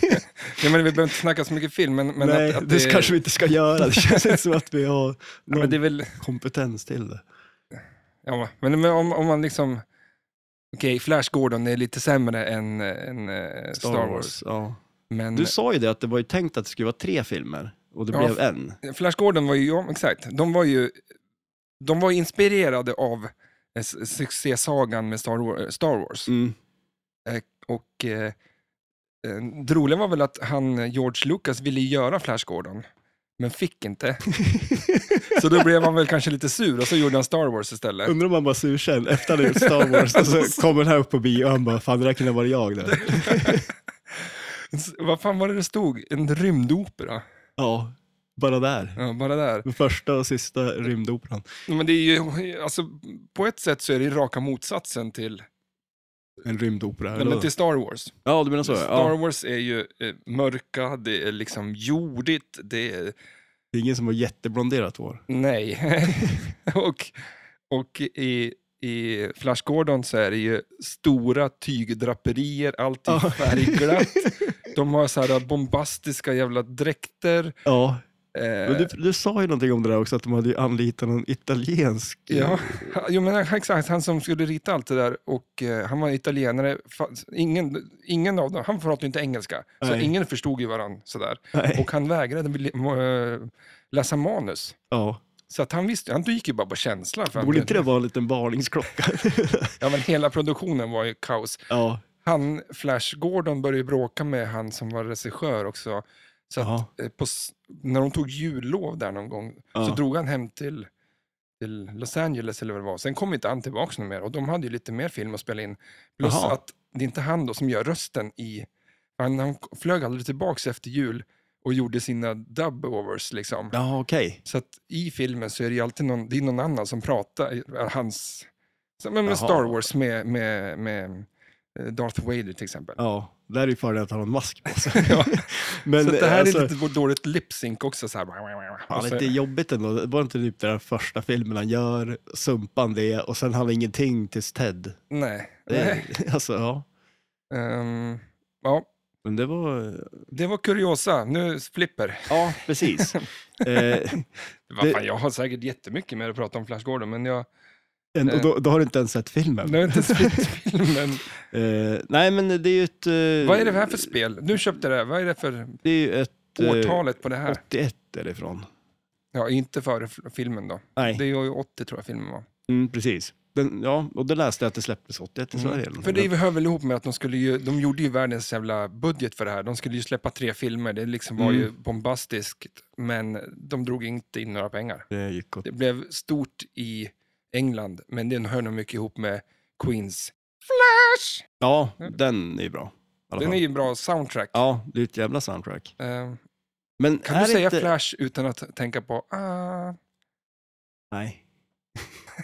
[SPEAKER 1] ja, men vi behöver inte snacka så mycket film, men, men
[SPEAKER 2] nej,
[SPEAKER 1] att, att
[SPEAKER 2] det, kanske vi inte ska göra. Det känns inte som att vi har
[SPEAKER 1] ja,
[SPEAKER 2] någon
[SPEAKER 1] men det är väl...
[SPEAKER 2] kompetens till det.
[SPEAKER 1] Ja, men, men om, om man liksom... Okej, Flash Gordon är lite sämre än, eh, än eh, Star, Wars.
[SPEAKER 2] Ja.
[SPEAKER 1] Men
[SPEAKER 2] Du sa ju det att det var ju tänkt att det skulle vara tre filmer och det
[SPEAKER 1] Ja,
[SPEAKER 2] blev en.
[SPEAKER 1] Flash Gordon var ju, ja, exakt, de var ju... De var ju inspirerade av eh, s- succésagan med Star Wars. Star Wars.
[SPEAKER 2] Mm.
[SPEAKER 1] Och eh, eh, det roliga var väl att han, George Lucas, ville göra Flash Gordon, men fick inte. så då blev han väl kanske lite sur och så gjorde han Star Wars istället.
[SPEAKER 2] Undrar om han var sur sen efter han hade gjort Star Wars och så kommer han här upp på bio och han bara, fan det där kunde ha varit jag där.
[SPEAKER 1] S- Vad fan var det det stod? En rymdopera?
[SPEAKER 2] Ja, bara där.
[SPEAKER 1] Ja, bara där.
[SPEAKER 2] Den första och sista rymdoperan.
[SPEAKER 1] Men det är ju, alltså, på ett sätt så är det ju raka motsatsen till,
[SPEAKER 2] En rymdopera.
[SPEAKER 1] nej,
[SPEAKER 2] eller
[SPEAKER 1] men
[SPEAKER 2] vad?
[SPEAKER 1] till Star Wars.
[SPEAKER 2] Ja, du menar så?
[SPEAKER 1] Star
[SPEAKER 2] Alltså, Ja.
[SPEAKER 1] Wars är ju eh, mörka, det är liksom jordigt, det är
[SPEAKER 2] Det är ingen som har jätteblonderat hår.
[SPEAKER 1] Nej. och och i, i Flash Gordon så är det ju stora tygdraperier, allt
[SPEAKER 2] Ja.
[SPEAKER 1] är Typ färgglatt. De har så här bombastiska jävla dräkter.
[SPEAKER 2] Ja,
[SPEAKER 1] Eh,
[SPEAKER 2] men du, du sa ju någonting om det där också, att de hade ju anlitat någon italiensk.
[SPEAKER 1] Ja, jo, men han- exakt. Han som skulle rita allt det där och eh, han var italienare. Fa- Ingen, ingen av dem, han pratade ju inte engelska, så
[SPEAKER 2] Nej.
[SPEAKER 1] ingen förstod ju varandra sådär.
[SPEAKER 2] Nej.
[SPEAKER 1] Och han vägrade bli- må- eh, läsa manus.
[SPEAKER 2] Ja.
[SPEAKER 1] Så att han visste, han gick ju bara på känsla. För han-
[SPEAKER 2] Borde inte det vara en liten varningsklocka?
[SPEAKER 1] Ja, men hela produktionen var ju kaos.
[SPEAKER 2] ja.
[SPEAKER 1] Han, Flash Gordon började ju bråka med han som var regissör också. Så att,
[SPEAKER 2] ja.
[SPEAKER 1] eh, på, s- när de tog jullov där någon gång
[SPEAKER 2] Ja.
[SPEAKER 1] så drog han hem till, till Los Angeles eller vad det var. Sen kom inte han tillbaka någon mer och de hade ju lite mer film att spela in. Plus
[SPEAKER 2] Jaha.
[SPEAKER 1] att det är inte han då som gör rösten i... Han, han flög aldrig tillbaka efter jul och gjorde sina dub-overs liksom.
[SPEAKER 2] Ja, okej.
[SPEAKER 1] Så att i filmen så är det ju alltid någon, det är någon annan som pratar, eh, hans... Som med
[SPEAKER 2] Jaha.
[SPEAKER 1] Star Wars med, med, med eh, Darth Vader till exempel.
[SPEAKER 2] Ja, där är ju fördelen att han har en mask på sig.
[SPEAKER 1] Ja.
[SPEAKER 2] Men
[SPEAKER 1] så att det här
[SPEAKER 2] alltså-
[SPEAKER 1] är lite Alltså- vår- dåligt lip-sync också. Så här.
[SPEAKER 2] Ja,
[SPEAKER 1] Och så-
[SPEAKER 2] men det är jobbigt ändå. Det var inte typ den första filmen han gör, sumpan det och sen han har ingenting tills Ted.
[SPEAKER 1] Nej.
[SPEAKER 2] Det
[SPEAKER 1] Nej.
[SPEAKER 2] är, alltså, ja.
[SPEAKER 1] Ehm, ja,
[SPEAKER 2] Men det var...
[SPEAKER 1] det var kuriosa. Nu flipper.
[SPEAKER 2] Ja, precis. eh,
[SPEAKER 1] Vad
[SPEAKER 2] Det-
[SPEAKER 1] fan, jag har säkert jättemycket mer att prata om Flash Gordon, men jag...
[SPEAKER 2] En, och då, då har du inte ens sett filmen.
[SPEAKER 1] Nu har jag inte sett filmen.
[SPEAKER 2] Eh, nej, men det är ju ett... eh,
[SPEAKER 1] Vad är det här för spel? Du köpte det, här. vad är det för
[SPEAKER 2] Det är ju ett... eh,
[SPEAKER 1] årtalet på det här?
[SPEAKER 2] 81 är det ifrån.
[SPEAKER 1] Ja, inte före f- filmen då.
[SPEAKER 2] Nej,
[SPEAKER 1] Det är ju 80 tror jag filmen var.
[SPEAKER 2] mm, precis. Den, ja, och då läste jag att det släpptes 81 i Sverige. eller
[SPEAKER 1] Mm. För
[SPEAKER 2] någonting.
[SPEAKER 1] det hör väl ihop med att de skulle ju, de gjorde ju världens jävla budget för det här. De skulle ju släppa tre filmer, det liksom var
[SPEAKER 2] Mm.
[SPEAKER 1] ju bombastiskt, men de drog inte in några pengar.
[SPEAKER 2] det gick åt...
[SPEAKER 1] Det blev stort i England, men den hör nog mycket ihop med Queens. Flash!
[SPEAKER 2] Ja, den är ju bra. i
[SPEAKER 1] Mm.
[SPEAKER 2] alla
[SPEAKER 1] Den
[SPEAKER 2] fall.
[SPEAKER 1] är ju en bra soundtrack.
[SPEAKER 2] Ja, det är ett jävla soundtrack.
[SPEAKER 1] Eh,
[SPEAKER 2] Men
[SPEAKER 1] kan
[SPEAKER 2] är
[SPEAKER 1] du
[SPEAKER 2] det
[SPEAKER 1] säga
[SPEAKER 2] inte...
[SPEAKER 1] Flash utan att tänka på... Ah,
[SPEAKER 2] Nej.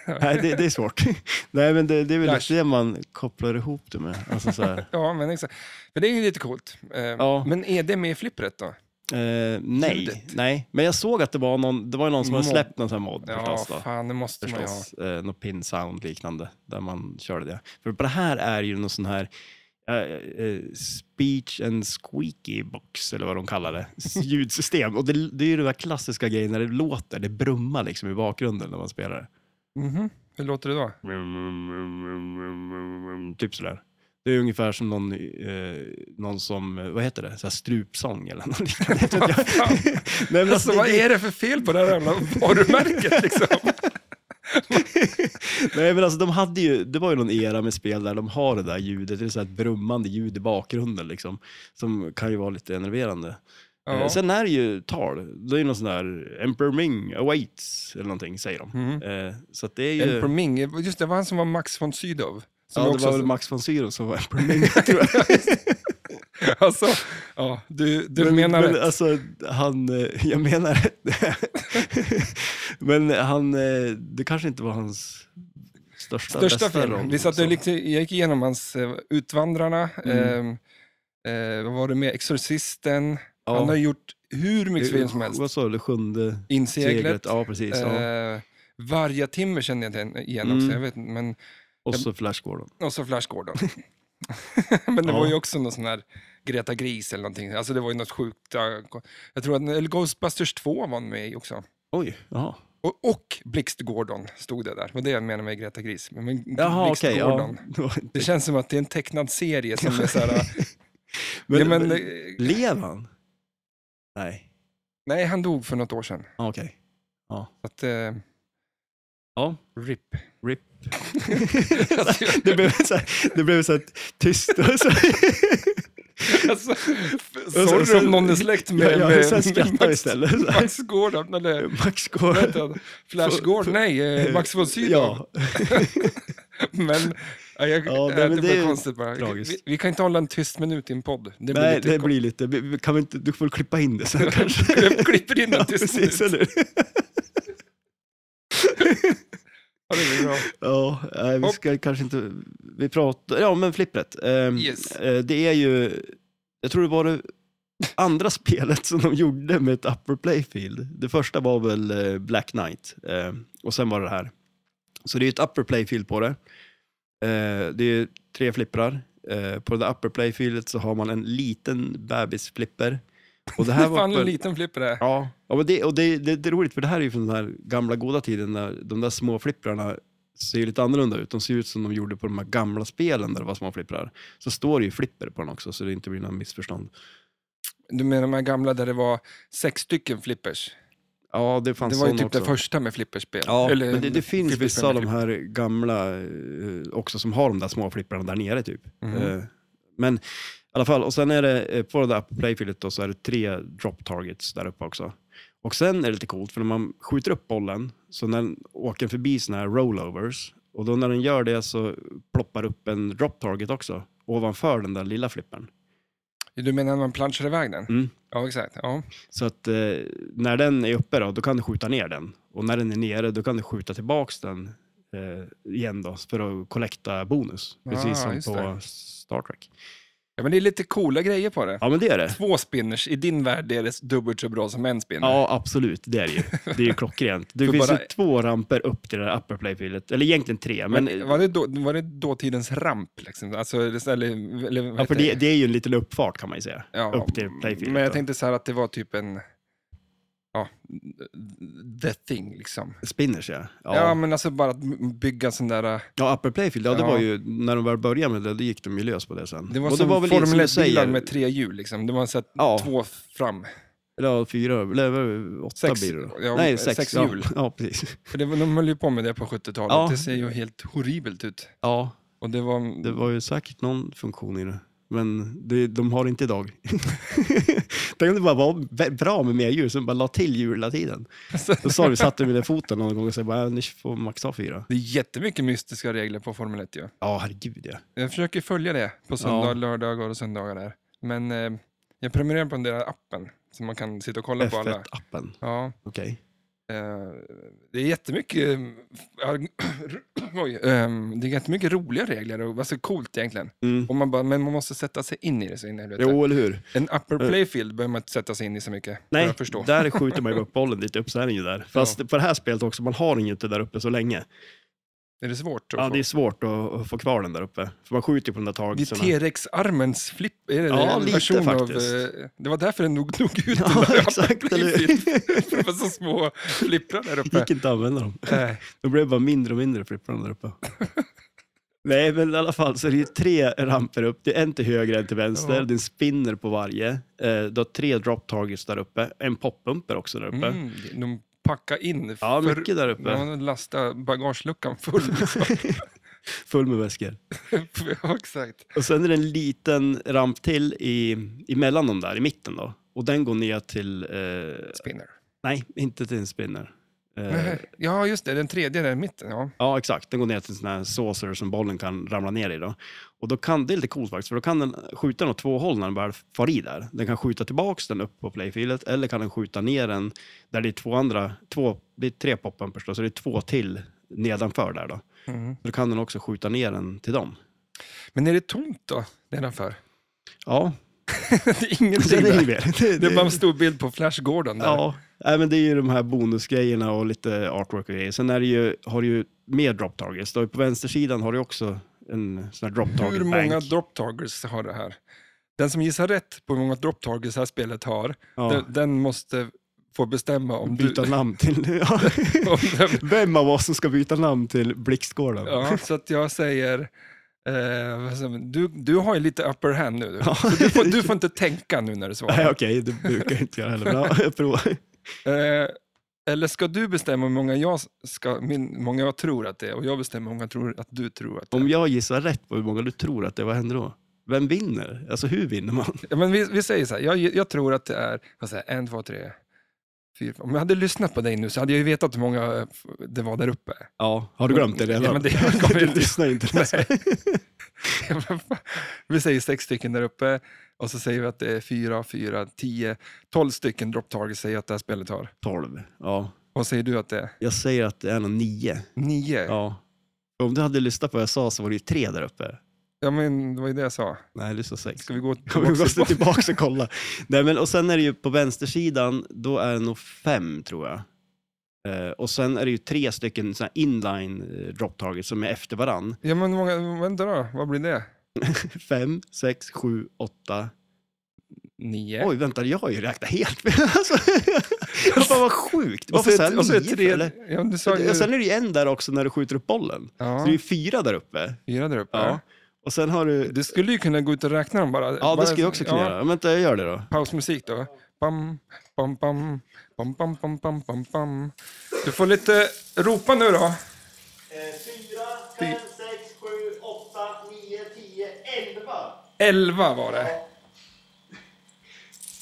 [SPEAKER 2] Nej, det, det är svårt. Nej, men det, det är väl
[SPEAKER 1] Flash.
[SPEAKER 2] lite det man kopplar ihop det med. Alltså, så här.
[SPEAKER 1] ja, men exakt. För det är ju lite coolt. Eh,
[SPEAKER 2] Ja.
[SPEAKER 1] Men är det med i flippret då?
[SPEAKER 2] eh, nej,
[SPEAKER 1] Ljudet.
[SPEAKER 2] nej, men jag såg att det var någon, det var ju någon som hade
[SPEAKER 1] Mod.
[SPEAKER 2] släppt någon sån här mod
[SPEAKER 1] Ja,
[SPEAKER 2] förstås. Då.
[SPEAKER 1] fan, det måste man ju ha.
[SPEAKER 2] förstås. Eh, något pin sound liknande där man körde det. För på det här är ju någon sån här eh, eh, speech and squeaky box eller vad de kallar det. Ljudsystem. Och det, det är ju den där klassiska grejen när det låter, det brummar liksom i bakgrunden när man spelar det.
[SPEAKER 1] Mhm. Hur låter det då?
[SPEAKER 2] Typ sådär. Det är ungefär som någon, eh, någon som, eh, vad heter det, så här strupsång eller något liknande. Jag vet inte. Nej,
[SPEAKER 1] Alltså,
[SPEAKER 2] men alltså,
[SPEAKER 1] vad
[SPEAKER 2] det-
[SPEAKER 1] är det för fel på det här jävla varumärket liksom?
[SPEAKER 2] Nej men alltså de hade ju, det var ju någon era med spel där de har det där ljudet, det är så här ett brummande ljud i bakgrunden liksom, som kan ju vara lite enerverande. Eh,
[SPEAKER 1] Ja.
[SPEAKER 2] Sen är det ju tal, det är ju någon sån där Emperor Ming awaits eller någonting säger de.
[SPEAKER 1] Mm.
[SPEAKER 2] Eh, Så att det är ju...
[SPEAKER 1] Emperor Ming, just det var han som var Max von Sydow. Som
[SPEAKER 2] ja, det
[SPEAKER 1] också,
[SPEAKER 2] var väl Max von Sydow som var Emperor Ming tror jag.
[SPEAKER 1] alltså, ja, du, du
[SPEAKER 2] men,
[SPEAKER 1] menar
[SPEAKER 2] men
[SPEAKER 1] rätt.
[SPEAKER 2] alltså, han, eh, jag menar rätt. Men han, eh, det kanske inte var hans största,
[SPEAKER 1] största
[SPEAKER 2] bästa roll. alltså.
[SPEAKER 1] film. Vi satt,
[SPEAKER 2] så.
[SPEAKER 1] jag, liksom, jag gick igenom hans eh, Utvandrarna,
[SPEAKER 2] Mm.
[SPEAKER 1] ehm, eh, vad var det med Exorcisten.
[SPEAKER 2] Ja.
[SPEAKER 1] Han har gjort hur mycket film som helst.
[SPEAKER 2] Vad sa du, det sjunde seglet?
[SPEAKER 1] Inseglet.
[SPEAKER 2] Ja, precis. Ja.
[SPEAKER 1] Eh, varje timme kände jag igen- igen
[SPEAKER 2] Mm.
[SPEAKER 1] också. Jag vet, inte, men,
[SPEAKER 2] Och så Flash Gordon.
[SPEAKER 1] och så Flash Gordon. men det
[SPEAKER 2] Ja.
[SPEAKER 1] var ju också någon sån här Greta Gris eller någonting. Alltså det var ju något sjukt. eh, Jag tror att eller Ghostbusters 2 var han med i också.
[SPEAKER 2] Oj, jaha.
[SPEAKER 1] Och, och Blixt Gordon stod det där. Och det jag menar med Greta Gris. Men, men
[SPEAKER 2] Jaha,
[SPEAKER 1] Blixt
[SPEAKER 2] okej.
[SPEAKER 1] Gordon.
[SPEAKER 2] ja. Det var inte-
[SPEAKER 1] Det känns som att det är en tecknad serie som är så här... eh,
[SPEAKER 2] Men-
[SPEAKER 1] ja, men,
[SPEAKER 2] men-
[SPEAKER 1] eh,
[SPEAKER 2] Lev han? Nej,
[SPEAKER 1] nej, han dog för något år sedan.
[SPEAKER 2] ah, okej.
[SPEAKER 1] Så Att, eh,
[SPEAKER 2] Ja.
[SPEAKER 1] RIP.
[SPEAKER 2] RIP. det blev så, här, det blev så här tyst. Och så,
[SPEAKER 1] Alltså,
[SPEAKER 2] så-
[SPEAKER 1] sorry
[SPEAKER 2] sen-
[SPEAKER 1] om någon är släkt med,
[SPEAKER 2] ja, ja,
[SPEAKER 1] med,
[SPEAKER 2] sen skrattar vi
[SPEAKER 1] Max-
[SPEAKER 2] istället. Så här.
[SPEAKER 1] Max Gordon, eller
[SPEAKER 2] Max
[SPEAKER 1] vad
[SPEAKER 2] Gordon.
[SPEAKER 1] heter han? Flash
[SPEAKER 2] För-
[SPEAKER 1] Gordon, nej, eh, Max von Sydow.
[SPEAKER 2] Ja,
[SPEAKER 1] Men, ja, jag,
[SPEAKER 2] Ja,
[SPEAKER 1] äh,
[SPEAKER 2] nej,
[SPEAKER 1] det,
[SPEAKER 2] men det
[SPEAKER 1] blir
[SPEAKER 2] är
[SPEAKER 1] konstigt bara.
[SPEAKER 2] tragiskt.
[SPEAKER 1] Vi, vi kan inte hålla en tyst minut i en podd. Det blir
[SPEAKER 2] nej,
[SPEAKER 1] lite
[SPEAKER 2] det
[SPEAKER 1] kon-
[SPEAKER 2] blir lite... vi- vi- Kan vi inte, du får väl klippa in det sen kanske.
[SPEAKER 1] Jag klipper in
[SPEAKER 2] ja,
[SPEAKER 1] en tyst minut.
[SPEAKER 2] precis, eller hur?
[SPEAKER 1] Ja, det blir bra.
[SPEAKER 2] Ja, nej, vi
[SPEAKER 1] Hopp.
[SPEAKER 2] ska kanske inte... Vi pratar... Ja, men flippret. Ehm,
[SPEAKER 1] Yes.
[SPEAKER 2] eh, det är ju... Jag tror det var det andra spelet som de gjorde med ett upper playfield. Det första var väl eh, Black Knight eh, och sen var det det här. Så det är ett upper playfield på det. Eh, det är tre flipprar. Eh, på det där upper playfieldet så har man en liten bebisflipper. Och det
[SPEAKER 1] Det
[SPEAKER 2] här
[SPEAKER 1] är
[SPEAKER 2] var
[SPEAKER 1] fan en
[SPEAKER 2] väl-
[SPEAKER 1] liten flipper det här.
[SPEAKER 2] Ja, ja men det, och det, det, det är roligt för det här är ju från den här gamla goda tiden när de där små flipprarna ser ju lite annorlunda ut. De ser ut som de gjorde på de här gamla spelen där det var små flipprar. Så står det ju flipper på den också så det inte blir några missförstånd.
[SPEAKER 1] Du menar de här gamla där det var sex stycken flippers?
[SPEAKER 2] Ja, det fanns
[SPEAKER 1] Det var ju
[SPEAKER 2] sån
[SPEAKER 1] typ
[SPEAKER 2] också.
[SPEAKER 1] det första med flipperspel.
[SPEAKER 2] Ja, men det, det finns
[SPEAKER 1] flipperspel
[SPEAKER 2] vissa
[SPEAKER 1] med
[SPEAKER 2] av de
[SPEAKER 1] flipper.
[SPEAKER 2] här gamla eh, också som har de där små flipprarna där nere typ.
[SPEAKER 1] Mhm.
[SPEAKER 2] Eh, Men i alla fall, och sen är det eh, på det där playfieldet då, så är det tre drop targets där uppe också. Och sen är det lite coolt, för när man skjuter upp bollen så när den åker förbi såna här rollovers och då när den gör det så ploppar upp en drop target också ovanför den där lilla flippern.
[SPEAKER 1] Du menar när man planschar iväg den?
[SPEAKER 2] Mm.
[SPEAKER 1] Ja, exakt. Ja.
[SPEAKER 2] Så att eh, när den är uppe då, då kan du skjuta ner den. Och när den är nere, då kan du skjuta tillbaks den eh, igen då, för att kollekta bonus.
[SPEAKER 1] Ah,
[SPEAKER 2] Precis
[SPEAKER 1] just
[SPEAKER 2] som på
[SPEAKER 1] det.
[SPEAKER 2] Star Trek.
[SPEAKER 1] ja, men det är lite coola grejer på det.
[SPEAKER 2] Ja, men det är det.
[SPEAKER 1] Två spinners, i din värld är det dubbelt så bra som en spinner.
[SPEAKER 2] Ja, absolut. Det är det ju. Det är ju klockrent. Det
[SPEAKER 1] För
[SPEAKER 2] finns
[SPEAKER 1] bara-
[SPEAKER 2] ju två ramper upp till det där upper playfieldet. Eller egentligen tre, men...
[SPEAKER 1] Men, eh, var, det då, var det dåtidens ramp? Liksom? Alltså, eller, eller, eller, vad
[SPEAKER 2] ja,
[SPEAKER 1] heter
[SPEAKER 2] för det, det är ju en liten uppfart kan man ju säga.
[SPEAKER 1] Ja,
[SPEAKER 2] upp till playfieldet
[SPEAKER 1] Men jag
[SPEAKER 2] då.
[SPEAKER 1] tänkte så här att det var typ en... ja, the thing liksom.
[SPEAKER 2] Spinners ja.
[SPEAKER 1] Ja. men alltså bara att m- bygga en sån där... äh,
[SPEAKER 2] Ja, Upper Playfield, ja, det
[SPEAKER 1] Ja.
[SPEAKER 2] var ju, när de väl började med det, då gick de ju lös på det sen.
[SPEAKER 1] Det var
[SPEAKER 2] Och
[SPEAKER 1] som
[SPEAKER 2] väl
[SPEAKER 1] Formel
[SPEAKER 2] du
[SPEAKER 1] 1-bilar
[SPEAKER 2] säger,
[SPEAKER 1] med tre hjul liksom. Det var så att
[SPEAKER 2] Ja.
[SPEAKER 1] två fram.
[SPEAKER 2] Ja, fyra, eller vad var det? åtta
[SPEAKER 1] Sex-
[SPEAKER 2] blir det då.
[SPEAKER 1] ja, eh,
[SPEAKER 2] Nej, sex,
[SPEAKER 1] sex
[SPEAKER 2] ja.
[SPEAKER 1] hjul.
[SPEAKER 2] Ja, precis.
[SPEAKER 1] För det, var- de höll ju på med det på 70-talet.
[SPEAKER 2] Ja.
[SPEAKER 1] Det ser ju helt horribelt ut.
[SPEAKER 2] Ja,
[SPEAKER 1] Och det var...
[SPEAKER 2] det var ju säkert någon funktion i det. Men det, de har det inte idag. Tänk om det bara var vä- bra med mer hjul, sen bara la till hjul hela tiden. Då sa vi, satte vi ner foten någon gång och sa bara, "Ja, ni får max ha fyra.
[SPEAKER 1] Det är jättemycket mystiska regler på Formel 1 ju.
[SPEAKER 2] Ja, herregud ja.
[SPEAKER 1] Jag försöker följa det på söndag,
[SPEAKER 2] Ja.
[SPEAKER 1] lördagar och söndagar där. Men eh, jag prenumererar på den där appen så man kan sitta och kolla på alla.
[SPEAKER 2] F1-appen,
[SPEAKER 1] Ja,
[SPEAKER 2] okej.
[SPEAKER 1] eh, det är jättemycket eh, oj, ehm, det är jättemycket roliga regler och alltså coolt egentligen.
[SPEAKER 2] Mm.
[SPEAKER 1] Och man bara, men man måste sätta sig in i det så in i helvete.
[SPEAKER 2] Jo, eller hur?
[SPEAKER 1] En upper playfield behöver man inte sätta sig in i så mycket för
[SPEAKER 2] Nej,
[SPEAKER 1] att förstå.
[SPEAKER 2] där skjuter man ju upp bollen dit upp, så är den ju där. Fast på det här spelet också, man har den ju inte där uppe så länge.
[SPEAKER 1] Är det svårt? Att
[SPEAKER 2] Ja,
[SPEAKER 1] få?
[SPEAKER 2] det är svårt att, att få kvar den där uppe. För man skjuter ju på den där
[SPEAKER 1] Det är
[SPEAKER 2] tagelserna.
[SPEAKER 1] T-Rex-armens flipp. Är det
[SPEAKER 2] Ja,
[SPEAKER 1] en
[SPEAKER 2] lite
[SPEAKER 1] version
[SPEAKER 2] faktiskt.
[SPEAKER 1] Av, eh, det var därför den dog, dog ut. den
[SPEAKER 2] Ja,
[SPEAKER 1] där
[SPEAKER 2] exakt. Eller hur?
[SPEAKER 1] Playfield. För det var så små flipprar där
[SPEAKER 2] Det
[SPEAKER 1] uppe.
[SPEAKER 2] gick inte att använda dem.
[SPEAKER 1] Nej.
[SPEAKER 2] Då blev det bara mindre och mindre flipprar där uppe. Nej, men i alla fall så är det ju tre ramper upp. Det är en till höger, en till vänster.
[SPEAKER 1] Ja.
[SPEAKER 2] Det är en spinner på varje. Eh, du har tre drop targets där uppe. En poppumper också där uppe.
[SPEAKER 1] Mm, de packade in.
[SPEAKER 2] Ja, mycket där uppe.
[SPEAKER 1] De lastade bagageluckan full.
[SPEAKER 2] Full med väskor.
[SPEAKER 1] ja, exakt.
[SPEAKER 2] Och sen är det en liten ramp till i, emellan dem där, i mitten då. Och den går ner till... Eh,
[SPEAKER 1] Spinner.
[SPEAKER 2] nej, inte till en spinner. Eh,
[SPEAKER 1] Nej, Ja, just det. Den tredje där i mitten. Ja.
[SPEAKER 2] Ja, exakt. Den går ner till en sån här saucer som bollen kan ramla ner i. Då. Och då kan, det är lite coolt faktiskt, för då kan den skjuta den åt två håll när den väl far i där. Den kan skjuta tillbaks den upp på playfieldet, eller kan den skjuta ner den där det är två andra, två, det är tre poppumpers då, så det är två till nedanför där då.
[SPEAKER 1] Mm.
[SPEAKER 2] Då kan den också skjuta ner den till dem.
[SPEAKER 1] Men är det tomt då, nedanför?
[SPEAKER 2] Ja,
[SPEAKER 1] det är ingenting
[SPEAKER 2] sen är det
[SPEAKER 1] där.
[SPEAKER 2] mer. Det,
[SPEAKER 1] Det är bara en stor bild på Flash Gordon där.
[SPEAKER 2] Ja, nej, men det är ju de här bonusgrejerna och lite artwork och grejer. Sen är det ju, har du ju mer drop targets. Då på vänstersidan har du också en sån här drop target
[SPEAKER 1] Hur många
[SPEAKER 2] bank.
[SPEAKER 1] drop targets har det här? Den som gissar rätt på hur många drop targets det här spelet har,
[SPEAKER 2] Ja.
[SPEAKER 1] den, den måste få bestämma om
[SPEAKER 2] byta
[SPEAKER 1] du...
[SPEAKER 2] namn till... Ja.
[SPEAKER 1] Om den,
[SPEAKER 2] Vem av oss som ska byta namn till Blixtgården?
[SPEAKER 1] ja, så att jag säger... Eh, vad säger man? du, du har ju lite upper hand nu. du. Så du, får, du får inte tänka nu när du svarar.
[SPEAKER 2] Nej, okej, det brukar jag inte göra heller. Bra, jag provar.
[SPEAKER 1] Eh, eller ska du bestämma hur många jag, ska, min, hur många jag tror att det är och jag bestämmer hur många jag tror att du tror att det är?
[SPEAKER 2] Om jag gissar rätt på hur många du tror att det är, vad händer då? Vem vinner? Alltså hur vinner man?
[SPEAKER 1] Ja, men vi, vi säger så här, jag, jag tror att det är vad säger, jag, en, två, tre, fyra. fem. Om jag hade lyssnat på dig nu så hade jag ju vetat hur många eh, f- det var där uppe.
[SPEAKER 2] Ja, har du glömt det redan?
[SPEAKER 1] Ja, men det kommer
[SPEAKER 2] du
[SPEAKER 1] inte.
[SPEAKER 2] lyssnar inte.
[SPEAKER 1] Nej. Ja, men fan. vi säger sex stycken där uppe och så säger vi att det är fyra, fyra, tio, tolv stycken drop targets säger jag att det här spelet har.
[SPEAKER 2] 12. Ja.
[SPEAKER 1] Vad säger du att det är?
[SPEAKER 2] Jag säger att det är någon 9.
[SPEAKER 1] Nio? Ja,
[SPEAKER 2] Ja. Om du hade lyssnat på vad jag sa så var det ju tre där uppe.
[SPEAKER 1] men det var ju det jag sa.
[SPEAKER 2] Nej, lyssna sex.
[SPEAKER 1] Ska vi gå
[SPEAKER 2] Vi måste
[SPEAKER 1] tillbaka?
[SPEAKER 2] tillbaka och kolla. Nej, men, och sen är det ju på vänstersidan, då är det nog fem tror jag. Eh, och sen är det ju tre stycken såna här inline eh, drop targets som är efter varann.
[SPEAKER 1] Ja, men hur många, vänta då, vad blir det?
[SPEAKER 2] Fem, sex, sju, åtta.
[SPEAKER 1] Nio.
[SPEAKER 2] Oj, vänta, jag har ju räknat helt fel. Alltså, fan vad sjukt. Varför sa jag nio? för, eller?
[SPEAKER 1] ja, du sa ju,
[SPEAKER 2] Och sen är det ju en där också när du skjuter upp bollen. Så det är
[SPEAKER 1] ja,
[SPEAKER 2] ju fyra där uppe.
[SPEAKER 1] fyra där uppe.
[SPEAKER 2] Ja. Och sen har du...
[SPEAKER 1] Du skulle ju kunna gå ut och räkna dem bara.
[SPEAKER 2] Ja,
[SPEAKER 1] bara,
[SPEAKER 2] det ska jag också kunna
[SPEAKER 1] ja,
[SPEAKER 2] göra. Vänta, jag gör det då.
[SPEAKER 1] Pausmusik då. Bam, bam, bam, bam, bam, bam, bam, bam, bam. Du får lite ropa nu
[SPEAKER 3] 4,
[SPEAKER 1] då.
[SPEAKER 3] 5, 6, 7, 8, 9, 10, 11.
[SPEAKER 1] Elva var det.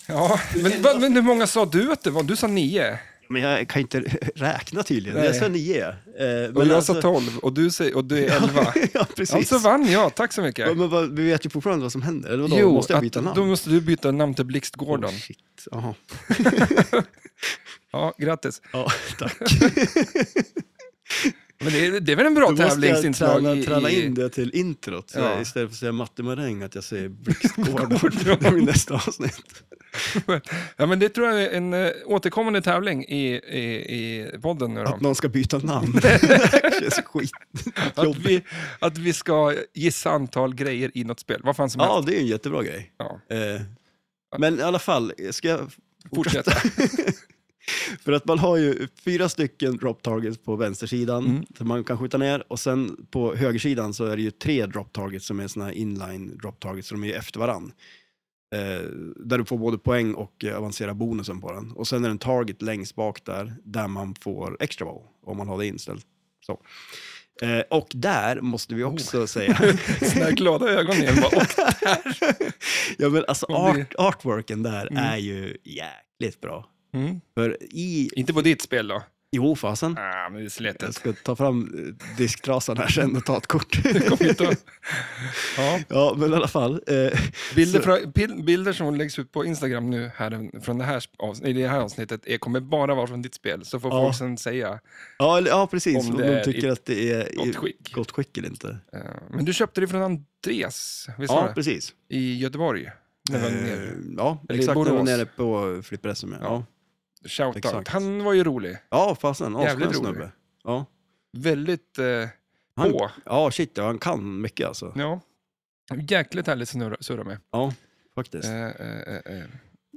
[SPEAKER 1] Ja, men, vad- men hur många sa du att det var? Du sa nio.
[SPEAKER 2] Men jag kan inte räkna tydligen.
[SPEAKER 1] Nej.
[SPEAKER 2] Jag sa nio. Eh, men
[SPEAKER 1] Och jag sa
[SPEAKER 2] alltså-
[SPEAKER 1] tolv och du, säger, och du är elva.
[SPEAKER 2] ja, precis.
[SPEAKER 1] Alltså vann jag, tack så
[SPEAKER 2] Ja,
[SPEAKER 1] mycket.
[SPEAKER 2] men vad, vi vet ju fortfarande vad som händer. Eller vadå,
[SPEAKER 1] Jo,
[SPEAKER 2] måste jag
[SPEAKER 1] att-
[SPEAKER 2] byta namn?
[SPEAKER 1] då måste du byta namn till Blixt Gordon.
[SPEAKER 2] Oh, shit. Jaha.
[SPEAKER 1] Ja, grattis.
[SPEAKER 2] Ja, tack.
[SPEAKER 1] Men det är, det är väl en bra
[SPEAKER 2] Då måste jag
[SPEAKER 1] tävlingsinslag?
[SPEAKER 2] träna,
[SPEAKER 1] i-
[SPEAKER 2] träna
[SPEAKER 1] i-
[SPEAKER 2] in det till introt. Så
[SPEAKER 1] Ja.
[SPEAKER 2] jag- Istället för att säga Matte Maräng, att jag säger Blixtgården. det blir nästa avsnitt.
[SPEAKER 1] Ja, men det tror jag är en eh, återkommande tävling i, i, i podden nu då.
[SPEAKER 2] Att någon ska byta namn. det känns skit.
[SPEAKER 1] Att vi, att vi ska gissa antal grejer i något spel, vad fan som helst.
[SPEAKER 2] Ja, det är ju en jättebra grej.
[SPEAKER 1] Ja,
[SPEAKER 2] Eh, men i alla fall, ska jag
[SPEAKER 1] fortsätta.
[SPEAKER 2] För att man har ju fyra stycken drop targets på vänstersidan som man kan skjuta ner och sen på högersidan så är det ju tre drop targets som är såna här inline drop targets, så de är ju efter varann. Eh, där du får både poäng och eh, avancera bonusen på den. Och sen är det en target längst bak där, där man får extra bow om man har det inställt. Så. Eh, och där måste vi också säga,
[SPEAKER 1] Såna glada ögon igen. Bara, och,
[SPEAKER 2] ja, men alltså
[SPEAKER 1] Om det-
[SPEAKER 2] art, artworken där är ju jäkligt bra.
[SPEAKER 1] mm.
[SPEAKER 2] För i,
[SPEAKER 1] Inte på ditt spel då?
[SPEAKER 2] jo fasen,
[SPEAKER 1] Ah, men det är
[SPEAKER 2] Jag
[SPEAKER 1] slätet.
[SPEAKER 2] ska ta fram eh, disktrasan här sen och ta ett kort.
[SPEAKER 1] Kom hit och... Ja.
[SPEAKER 2] ja, men i alla fall. Eh,
[SPEAKER 1] Bilder,
[SPEAKER 2] så-
[SPEAKER 1] från, bil- bilder som läggs ut på Instagram nu här, från det här, avs- i det här avsnittet är, kommer bara vara från ditt spel, så får
[SPEAKER 2] Ja.
[SPEAKER 1] folk sen säga.
[SPEAKER 2] ja, eller- ja, precis.
[SPEAKER 1] Om
[SPEAKER 2] Om
[SPEAKER 1] det
[SPEAKER 2] de
[SPEAKER 1] är
[SPEAKER 2] tycker
[SPEAKER 1] i
[SPEAKER 2] att det är i
[SPEAKER 1] gott skick.
[SPEAKER 2] gott skick eller inte.
[SPEAKER 1] eh, Men du köpte det från Andreas, visst var
[SPEAKER 2] Ja,
[SPEAKER 1] det?
[SPEAKER 2] precis.
[SPEAKER 1] I Göteborg. När vi var
[SPEAKER 2] Eh,
[SPEAKER 1] nere.
[SPEAKER 2] ja,
[SPEAKER 1] Eller i
[SPEAKER 2] exakt. När vi var
[SPEAKER 1] Borås.
[SPEAKER 2] nere på Flipper SM. Ja,
[SPEAKER 1] Shoutout.
[SPEAKER 2] exakt.
[SPEAKER 1] Han var ju rolig.
[SPEAKER 2] ja fasen.
[SPEAKER 1] Jävligt
[SPEAKER 2] Asskön
[SPEAKER 1] rolig.
[SPEAKER 2] snubbe. Ja.
[SPEAKER 1] Väldigt eh,
[SPEAKER 2] Han-
[SPEAKER 1] på.
[SPEAKER 2] ja, shit, ja, han kan mycket alltså.
[SPEAKER 1] Ja. Jäkligt härligt att snurra- surra med.
[SPEAKER 2] Ja, faktiskt.
[SPEAKER 1] Eh, eh, eh, eh.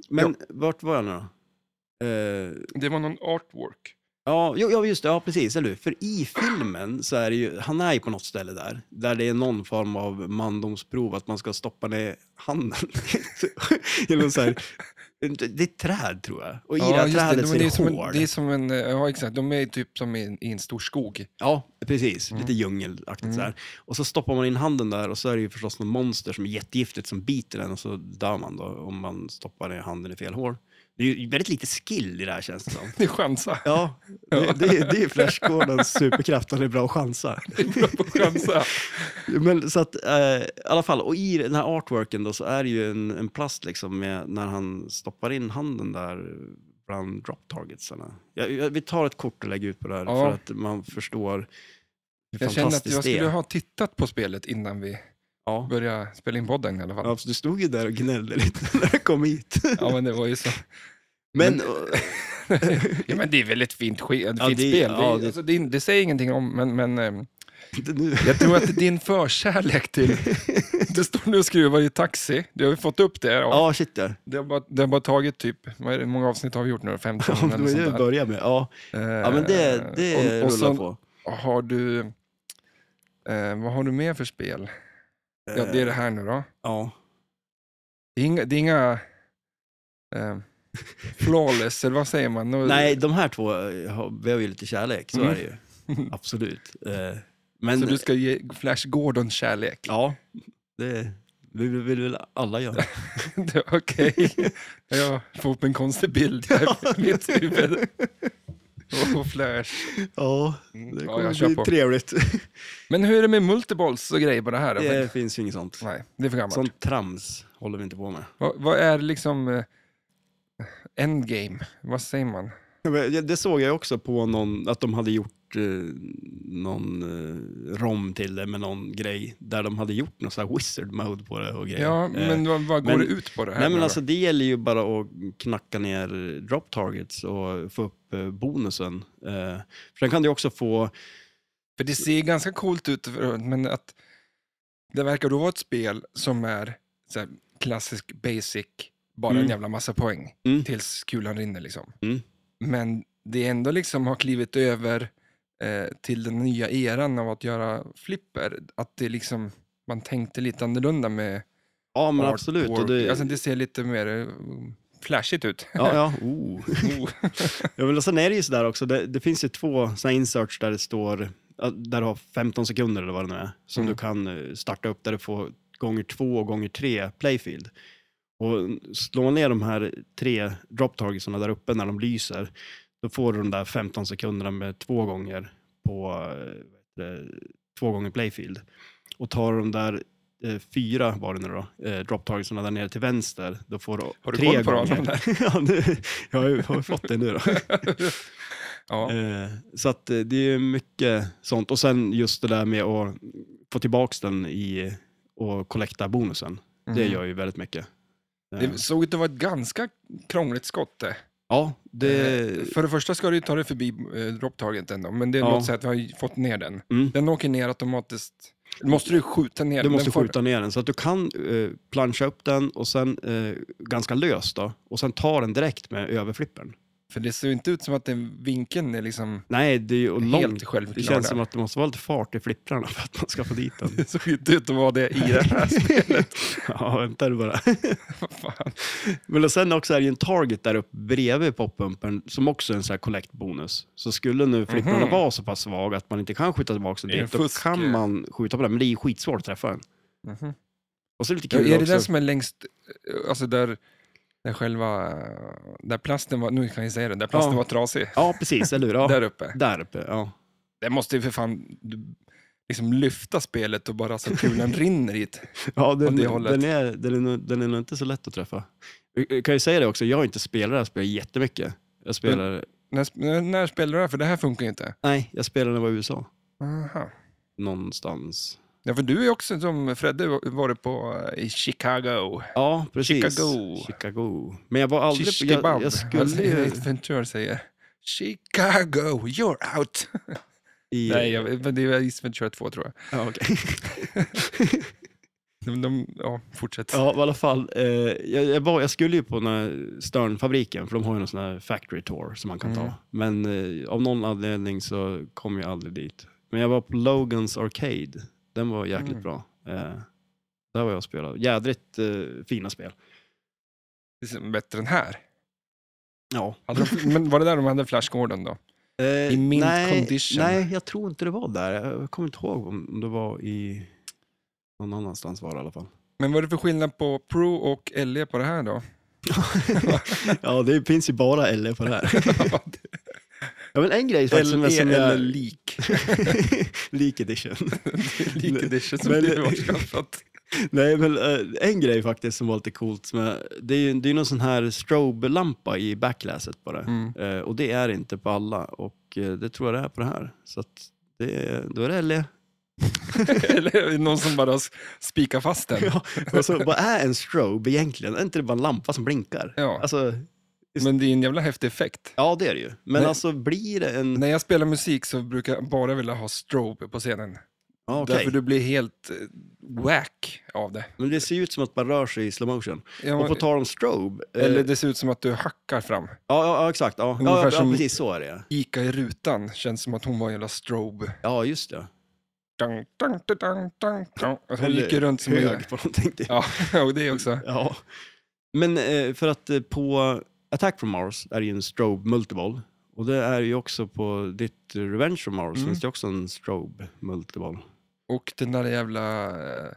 [SPEAKER 2] Men vart var jag nu då? Eh,
[SPEAKER 1] Det var någon artwork.
[SPEAKER 2] Ja, jo, ja, just det. Ja, precis. Eller hur? För i filmen så är det ju, han är ju på något ställe där, där det är någon form av mandomsprov att man ska stoppa ner handen. Genom så här, det är ett träd tror jag. Och i det här
[SPEAKER 1] just
[SPEAKER 2] trädet
[SPEAKER 1] men
[SPEAKER 2] så är
[SPEAKER 1] det, är
[SPEAKER 2] det,
[SPEAKER 1] som en,
[SPEAKER 2] hår.
[SPEAKER 1] det är som en, eh, ja exakt, de är typ som i en, i en stor skog.
[SPEAKER 2] Ja, precis.
[SPEAKER 1] Mm.
[SPEAKER 2] Lite djungelaktigt så här. Och så stoppar man in handen där och så är det ju förstås något monster som är jättegiftigt som biter den och så dör man då om man stoppar ner handen i fel hår. Det är ju väldigt lite skill i det här känns det som.
[SPEAKER 1] Det är chansa.
[SPEAKER 2] Ja, det, det, är- det är Flash Gordons superkraft, han är bra att chansa.
[SPEAKER 1] Det är bra på att chansa.
[SPEAKER 2] Men så att, eh, i alla fall, och i den här artworken då så är det ju en, en plast liksom med, när han stoppar in handen där bland drop targetsarna. Jag, jag, vi tar ett kort och lägger ut på det här
[SPEAKER 1] Ja.
[SPEAKER 2] för att man förstår hur
[SPEAKER 1] Jag känner att
[SPEAKER 2] fantastiskt
[SPEAKER 1] jag skulle
[SPEAKER 2] det är.
[SPEAKER 1] ha tittat på spelet innan vi
[SPEAKER 2] Ja.
[SPEAKER 1] började spela in podden i alla fall.
[SPEAKER 2] Ja, så du stod ju där och gnällde lite när du kom hit.
[SPEAKER 1] Ja, men det var ju så.
[SPEAKER 2] Men,
[SPEAKER 1] Ja, men det är väl ett fint, ske, ett
[SPEAKER 2] Ja,
[SPEAKER 1] fint
[SPEAKER 2] det-
[SPEAKER 1] spel.
[SPEAKER 2] ja,
[SPEAKER 1] det,
[SPEAKER 2] det-
[SPEAKER 1] alltså, det, det säger ingenting om, men, men ehm,
[SPEAKER 2] inte nu.
[SPEAKER 1] jag tror att din förkärlek till... Du står nu och skruvar i taxi. Du har ju fått upp det. Och
[SPEAKER 2] Ja, shit ja.
[SPEAKER 1] det, har bara, det har bara tagit typ... Vad är det, hur många avsnitt har vi gjort nu? 15
[SPEAKER 2] Ja,
[SPEAKER 1] eller
[SPEAKER 2] det var
[SPEAKER 1] något
[SPEAKER 2] det vi
[SPEAKER 1] sånt där.
[SPEAKER 2] började med. Ja, ja men det, det
[SPEAKER 1] Eh, och, och
[SPEAKER 2] rullar
[SPEAKER 1] sen
[SPEAKER 2] på.
[SPEAKER 1] har du... Eh, vad har du mer för spel? Ja, det är det här nu då.
[SPEAKER 2] Eh, Ja.
[SPEAKER 1] Det är inga... Det är inga eh, flawless, eller vad säger man? Nå-
[SPEAKER 2] Nej, de här två eh, har- behöver ju lite kärlek, så
[SPEAKER 1] Mm.
[SPEAKER 2] är det ju. Absolut. Eh, Men,
[SPEAKER 1] Så du ska ge Flash Gordon kärlek?
[SPEAKER 2] Ja, det vill, vill väl alla göra.
[SPEAKER 1] Det- Okej. Jag får upp en konstig bild i mitt huvud. Och flash.
[SPEAKER 2] ja,
[SPEAKER 1] Mm,
[SPEAKER 2] det
[SPEAKER 1] ja,
[SPEAKER 2] kommer
[SPEAKER 1] jag kör
[SPEAKER 2] bli
[SPEAKER 1] på.
[SPEAKER 2] trevligt.
[SPEAKER 1] Men hur är det med multiballs och grejer på det här? Då?
[SPEAKER 2] det finns ju inget sånt.
[SPEAKER 1] Nej, det är för gammalt.
[SPEAKER 2] Sånt trams håller vi inte på med.
[SPEAKER 1] Vad, vad är liksom eh, endgame? Vad säger man?
[SPEAKER 2] Ja, men det- Det såg jag också på någon, att de hade gjort eh, någon eh, rom till det med någon grej där de hade gjort någon sån här wizard mode på det och grejer.
[SPEAKER 1] Ja,
[SPEAKER 2] Eh,
[SPEAKER 1] men vad, vad går
[SPEAKER 2] men-
[SPEAKER 1] det ut på det här?
[SPEAKER 2] Nej
[SPEAKER 1] nu
[SPEAKER 2] men
[SPEAKER 1] då?
[SPEAKER 2] alltså det gäller ju bara att knacka ner drop targets och få upp eh, bonusen. Eh, För sen kan du också få,
[SPEAKER 1] För det ser ganska coolt ut, för- men att det verkar då vara ett spel som är så här, klassisk basic, bara en
[SPEAKER 2] Mm.
[SPEAKER 1] jävla massa poäng
[SPEAKER 2] Mm.
[SPEAKER 1] tills kulan rinner. Liksom.
[SPEAKER 2] Mm.
[SPEAKER 1] Men det är ändå liksom har klivit över eh, till den nya eran av att göra flipper. Att det liksom, man tänkte lite annorlunda med
[SPEAKER 2] ja men
[SPEAKER 1] artwork.
[SPEAKER 2] absolut. Och det,
[SPEAKER 1] Alltså, det ser lite mer eh, flashigt ut.
[SPEAKER 2] Ja, ja. Oh.
[SPEAKER 1] Oh.
[SPEAKER 2] ja men och sen är det ju sådär också, det, det finns ju två sådana inserts där det står, ja, där du har 15 sekunder eller vad det nu är, som
[SPEAKER 1] Mm.
[SPEAKER 2] du kan eh, starta upp där du får gånger två och gånger tre playfield. Och slår man ner de här tre drop targetsarna där uppe när de lyser, då får du de där 15 sekunderna med två gånger på eh, vad heter det, två gånger playfield. Och tar du de där eh, fyra, var det nu då, eh, drop targetsarna där nere till vänster, då får du
[SPEAKER 1] Har du
[SPEAKER 2] tre
[SPEAKER 1] koll på dem,
[SPEAKER 2] gånger.
[SPEAKER 1] de där?
[SPEAKER 2] ja, nu, jag har ju har ju fått det nu då.
[SPEAKER 1] ja.
[SPEAKER 2] Eh, Så att eh, det är ju mycket sånt. Och sen just det där med att få tillbaks den i och kollekta bonusen. Det
[SPEAKER 1] Mm.
[SPEAKER 2] gör ju väldigt mycket. Eh,
[SPEAKER 1] Det såg ut att vara ett ganska krångligt skott det.
[SPEAKER 2] Ja, det...
[SPEAKER 1] Eh, För det första ska du ju ta dig förbi eh, drop targeten då, men det
[SPEAKER 2] Ja.
[SPEAKER 1] låter så att vi har ju fått ner den.
[SPEAKER 2] Mm.
[SPEAKER 1] Den åker ner automatiskt. Måste du skjuta ner
[SPEAKER 2] Du
[SPEAKER 1] den?
[SPEAKER 2] måste
[SPEAKER 1] den? får-
[SPEAKER 2] skjuta ner den. Så att du kan eh, plancha upp den och sen eh, ganska löst då. Och sen ta den direkt med överflippen.
[SPEAKER 1] För det ser ju inte ut som att den vinkeln är liksom...
[SPEAKER 2] Nej, det är ju och
[SPEAKER 1] Helt
[SPEAKER 2] långt.
[SPEAKER 1] självklarande.
[SPEAKER 2] Det känns som att det måste vara lite fart i flipprarna för att man ska få dit den.
[SPEAKER 1] Det såg ju inte ut att vara det i det här spelet.
[SPEAKER 2] ja, vänta du bara.
[SPEAKER 1] Vad fan.
[SPEAKER 2] Men och sen också är det ju en target där uppe bredvid poppumpen som också är en sån här collect bonus. Så skulle nu flipprarna
[SPEAKER 1] Mhm.
[SPEAKER 2] vara så pass svag att man inte kan skjuta tillbaka den
[SPEAKER 1] Det är
[SPEAKER 2] dit,
[SPEAKER 1] en
[SPEAKER 2] då
[SPEAKER 1] fusk, eh.
[SPEAKER 2] kan man skjuta på den. Men det är ju skitsvårt att träffa den.
[SPEAKER 1] Mhm.
[SPEAKER 2] Och så är det lite
[SPEAKER 1] Ja,
[SPEAKER 2] kul
[SPEAKER 1] är det
[SPEAKER 2] också.
[SPEAKER 1] den som är längst, alltså där, där själva, där plasten var, nu kan jag säga det, där plasten
[SPEAKER 2] Ja.
[SPEAKER 1] var trasig.
[SPEAKER 2] Ja, precis. Eller hur? Ja.
[SPEAKER 1] Där
[SPEAKER 2] där.
[SPEAKER 1] uppe.
[SPEAKER 2] uppe, ja.
[SPEAKER 1] Det måste ju för fan du, liksom lyfta spelet och bara så kulan rinner hit.
[SPEAKER 2] ja den,
[SPEAKER 1] det hållet.
[SPEAKER 2] den, är, den, är, nog- den är nog inte så lätt att träffa. Jag- Jag kan ju säga det också, jag har inte spelat det här spelet jättemycket. Jag spelar...
[SPEAKER 1] När, sp- när- när spelar du det här? För det här funkar ju inte.
[SPEAKER 2] Nej, jag spelade när jag var i USA.
[SPEAKER 1] Aha.
[SPEAKER 2] Någonstans.
[SPEAKER 1] Ja, för du är också som Fredde varit på eh, i Chicago.
[SPEAKER 2] Ja, precis.
[SPEAKER 1] Chicago. Alltså,
[SPEAKER 2] Chicago. Men jag var aldrig...
[SPEAKER 1] Shishkebab.
[SPEAKER 2] Jag, jag skulle ju...
[SPEAKER 1] Ventura säger. Chicago, you're out.
[SPEAKER 2] I,
[SPEAKER 1] Nej, jag, men det är Ace Ventura 2 tror jag.
[SPEAKER 2] Ja, okej.
[SPEAKER 1] De, de, ja, fortsätt.
[SPEAKER 2] ja, i alla fall. Eh, jag, jag, var, jag skulle ju på den här Stern-fabriken, för de har ju någon sån här factory tour som man kan
[SPEAKER 1] Mm.
[SPEAKER 2] ta. Men eh, av någon anledning så kom jag aldrig dit. Men jag var på Logans Arcade. Den var jäkligt
[SPEAKER 1] Mm.
[SPEAKER 2] bra. Eh, där var jag och spelade. Jädrigt eh, fina spel.
[SPEAKER 1] Det är som bättre än här.
[SPEAKER 2] Ja. Eh,
[SPEAKER 1] Hade de, men var det där de hade Flash Gordon då? I mint
[SPEAKER 2] nej,
[SPEAKER 1] condition.
[SPEAKER 2] Nej, jag tror inte det var där. Jag kommer inte ihåg om om det var i... Någon annanstans var det i alla fall.
[SPEAKER 1] Men vad är det för skillnad på Pro och LE på det här då?
[SPEAKER 2] ja, det finns ju bara LE på det här. Ja, men en grej faktiskt som jag... Som jag...
[SPEAKER 1] lik.
[SPEAKER 2] Leak edition.
[SPEAKER 1] Lik edition som
[SPEAKER 2] Men-
[SPEAKER 1] du har skaffat.
[SPEAKER 2] Nej, men eh, en grej faktiskt som var lite coolt. Som jag, det är ju det är någon sån här strobe-lampa i backlasset bara.
[SPEAKER 1] Mm.
[SPEAKER 2] Eh, och det är inte på alla. Och eh, det tror jag det är på det här. Så att det, då är det LE.
[SPEAKER 1] Eller är det någon som bara s- spikar fast den.
[SPEAKER 2] Ja, och så, vad är en strobe egentligen? Är inte det bara en lampa som blinkar?
[SPEAKER 1] Ja.
[SPEAKER 2] Alltså, just-
[SPEAKER 1] Men det är en jävla häftig effekt.
[SPEAKER 2] ja, det är det ju. Men
[SPEAKER 1] Nej.
[SPEAKER 2] alltså blir det en...
[SPEAKER 1] När jag spelar musik så brukar jag bara vilja ha strobe på scenen.
[SPEAKER 2] Ja, okej.
[SPEAKER 1] Därför du blir helt eh, whack av det.
[SPEAKER 2] Men det ser ju ut som att man rör sig i slow motion.
[SPEAKER 1] Ja,
[SPEAKER 2] Och på tal om strobe. eh,
[SPEAKER 1] Eller det ser ut som att du hackar fram.
[SPEAKER 2] Ja, ja, ja exakt. Ja,
[SPEAKER 1] Ungefär
[SPEAKER 2] ja, ja,
[SPEAKER 1] som-
[SPEAKER 2] precis så är det. ja.
[SPEAKER 1] Ica i rutan känns som att hon var en jävla strobe.
[SPEAKER 2] Ja, just det.
[SPEAKER 1] Dang, dang, dang, dang, dang, dang. Alltså, Hon
[SPEAKER 2] Eller
[SPEAKER 1] gick ju runt som en
[SPEAKER 2] hög på någonting. Typ. Ja.
[SPEAKER 1] Ja, och det också.
[SPEAKER 2] Men eh, för att eh, på Attack from Mars är det ju en strobe multiball. Och det är ju också på ditt eh, Revenge from Mars
[SPEAKER 1] Mm.
[SPEAKER 2] finns det också en strobe multiball.
[SPEAKER 1] Och den där jävla... eh,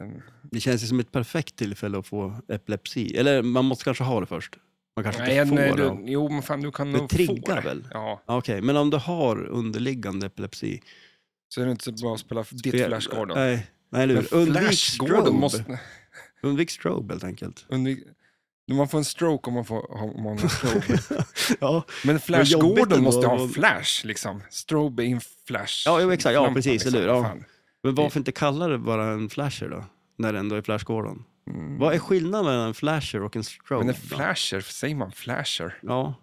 [SPEAKER 1] em,
[SPEAKER 2] Det känns ju som ett perfekt tillfälle att få epilepsi. Eller man måste kanske ha det först. Man kanske
[SPEAKER 1] Nej,
[SPEAKER 2] inte får
[SPEAKER 1] nej
[SPEAKER 2] det.
[SPEAKER 1] du, jo, men fan du kan
[SPEAKER 2] Det
[SPEAKER 1] nog få
[SPEAKER 2] triggar
[SPEAKER 1] det.
[SPEAKER 2] väl?
[SPEAKER 1] Ja,
[SPEAKER 2] Ja, Okej, men om du har underliggande epilepsi.
[SPEAKER 1] så är det inte så bra att spela för ditt
[SPEAKER 2] Spel-
[SPEAKER 1] Flash Gordon.
[SPEAKER 2] Nej, nej eller
[SPEAKER 1] Men
[SPEAKER 2] hur. Undvik
[SPEAKER 1] Flash
[SPEAKER 2] strobe.
[SPEAKER 1] Gordon måste...
[SPEAKER 2] Undvik strobe helt enkelt.
[SPEAKER 1] Undvik, man får en stroke om man, får, om man har en strobe.
[SPEAKER 2] ja,
[SPEAKER 1] Men Flash
[SPEAKER 2] jobbigt
[SPEAKER 1] Gordon
[SPEAKER 2] ändå
[SPEAKER 1] måste ha
[SPEAKER 2] om-
[SPEAKER 1] flash, liksom. Strobe är en flash.
[SPEAKER 2] Ja, jo, exakt. Ja,
[SPEAKER 1] lampa, liksom.
[SPEAKER 2] precis, eller hur? Ja.
[SPEAKER 1] Fan.
[SPEAKER 2] men varför inte kalla det bara en flasher då? När det ändå är Flash Gordon.
[SPEAKER 1] Mm.
[SPEAKER 2] Vad är skillnaden mellan en flasher och en strobe?
[SPEAKER 1] Men en
[SPEAKER 2] då?
[SPEAKER 1] flasher, säger man flasher?
[SPEAKER 2] Ja,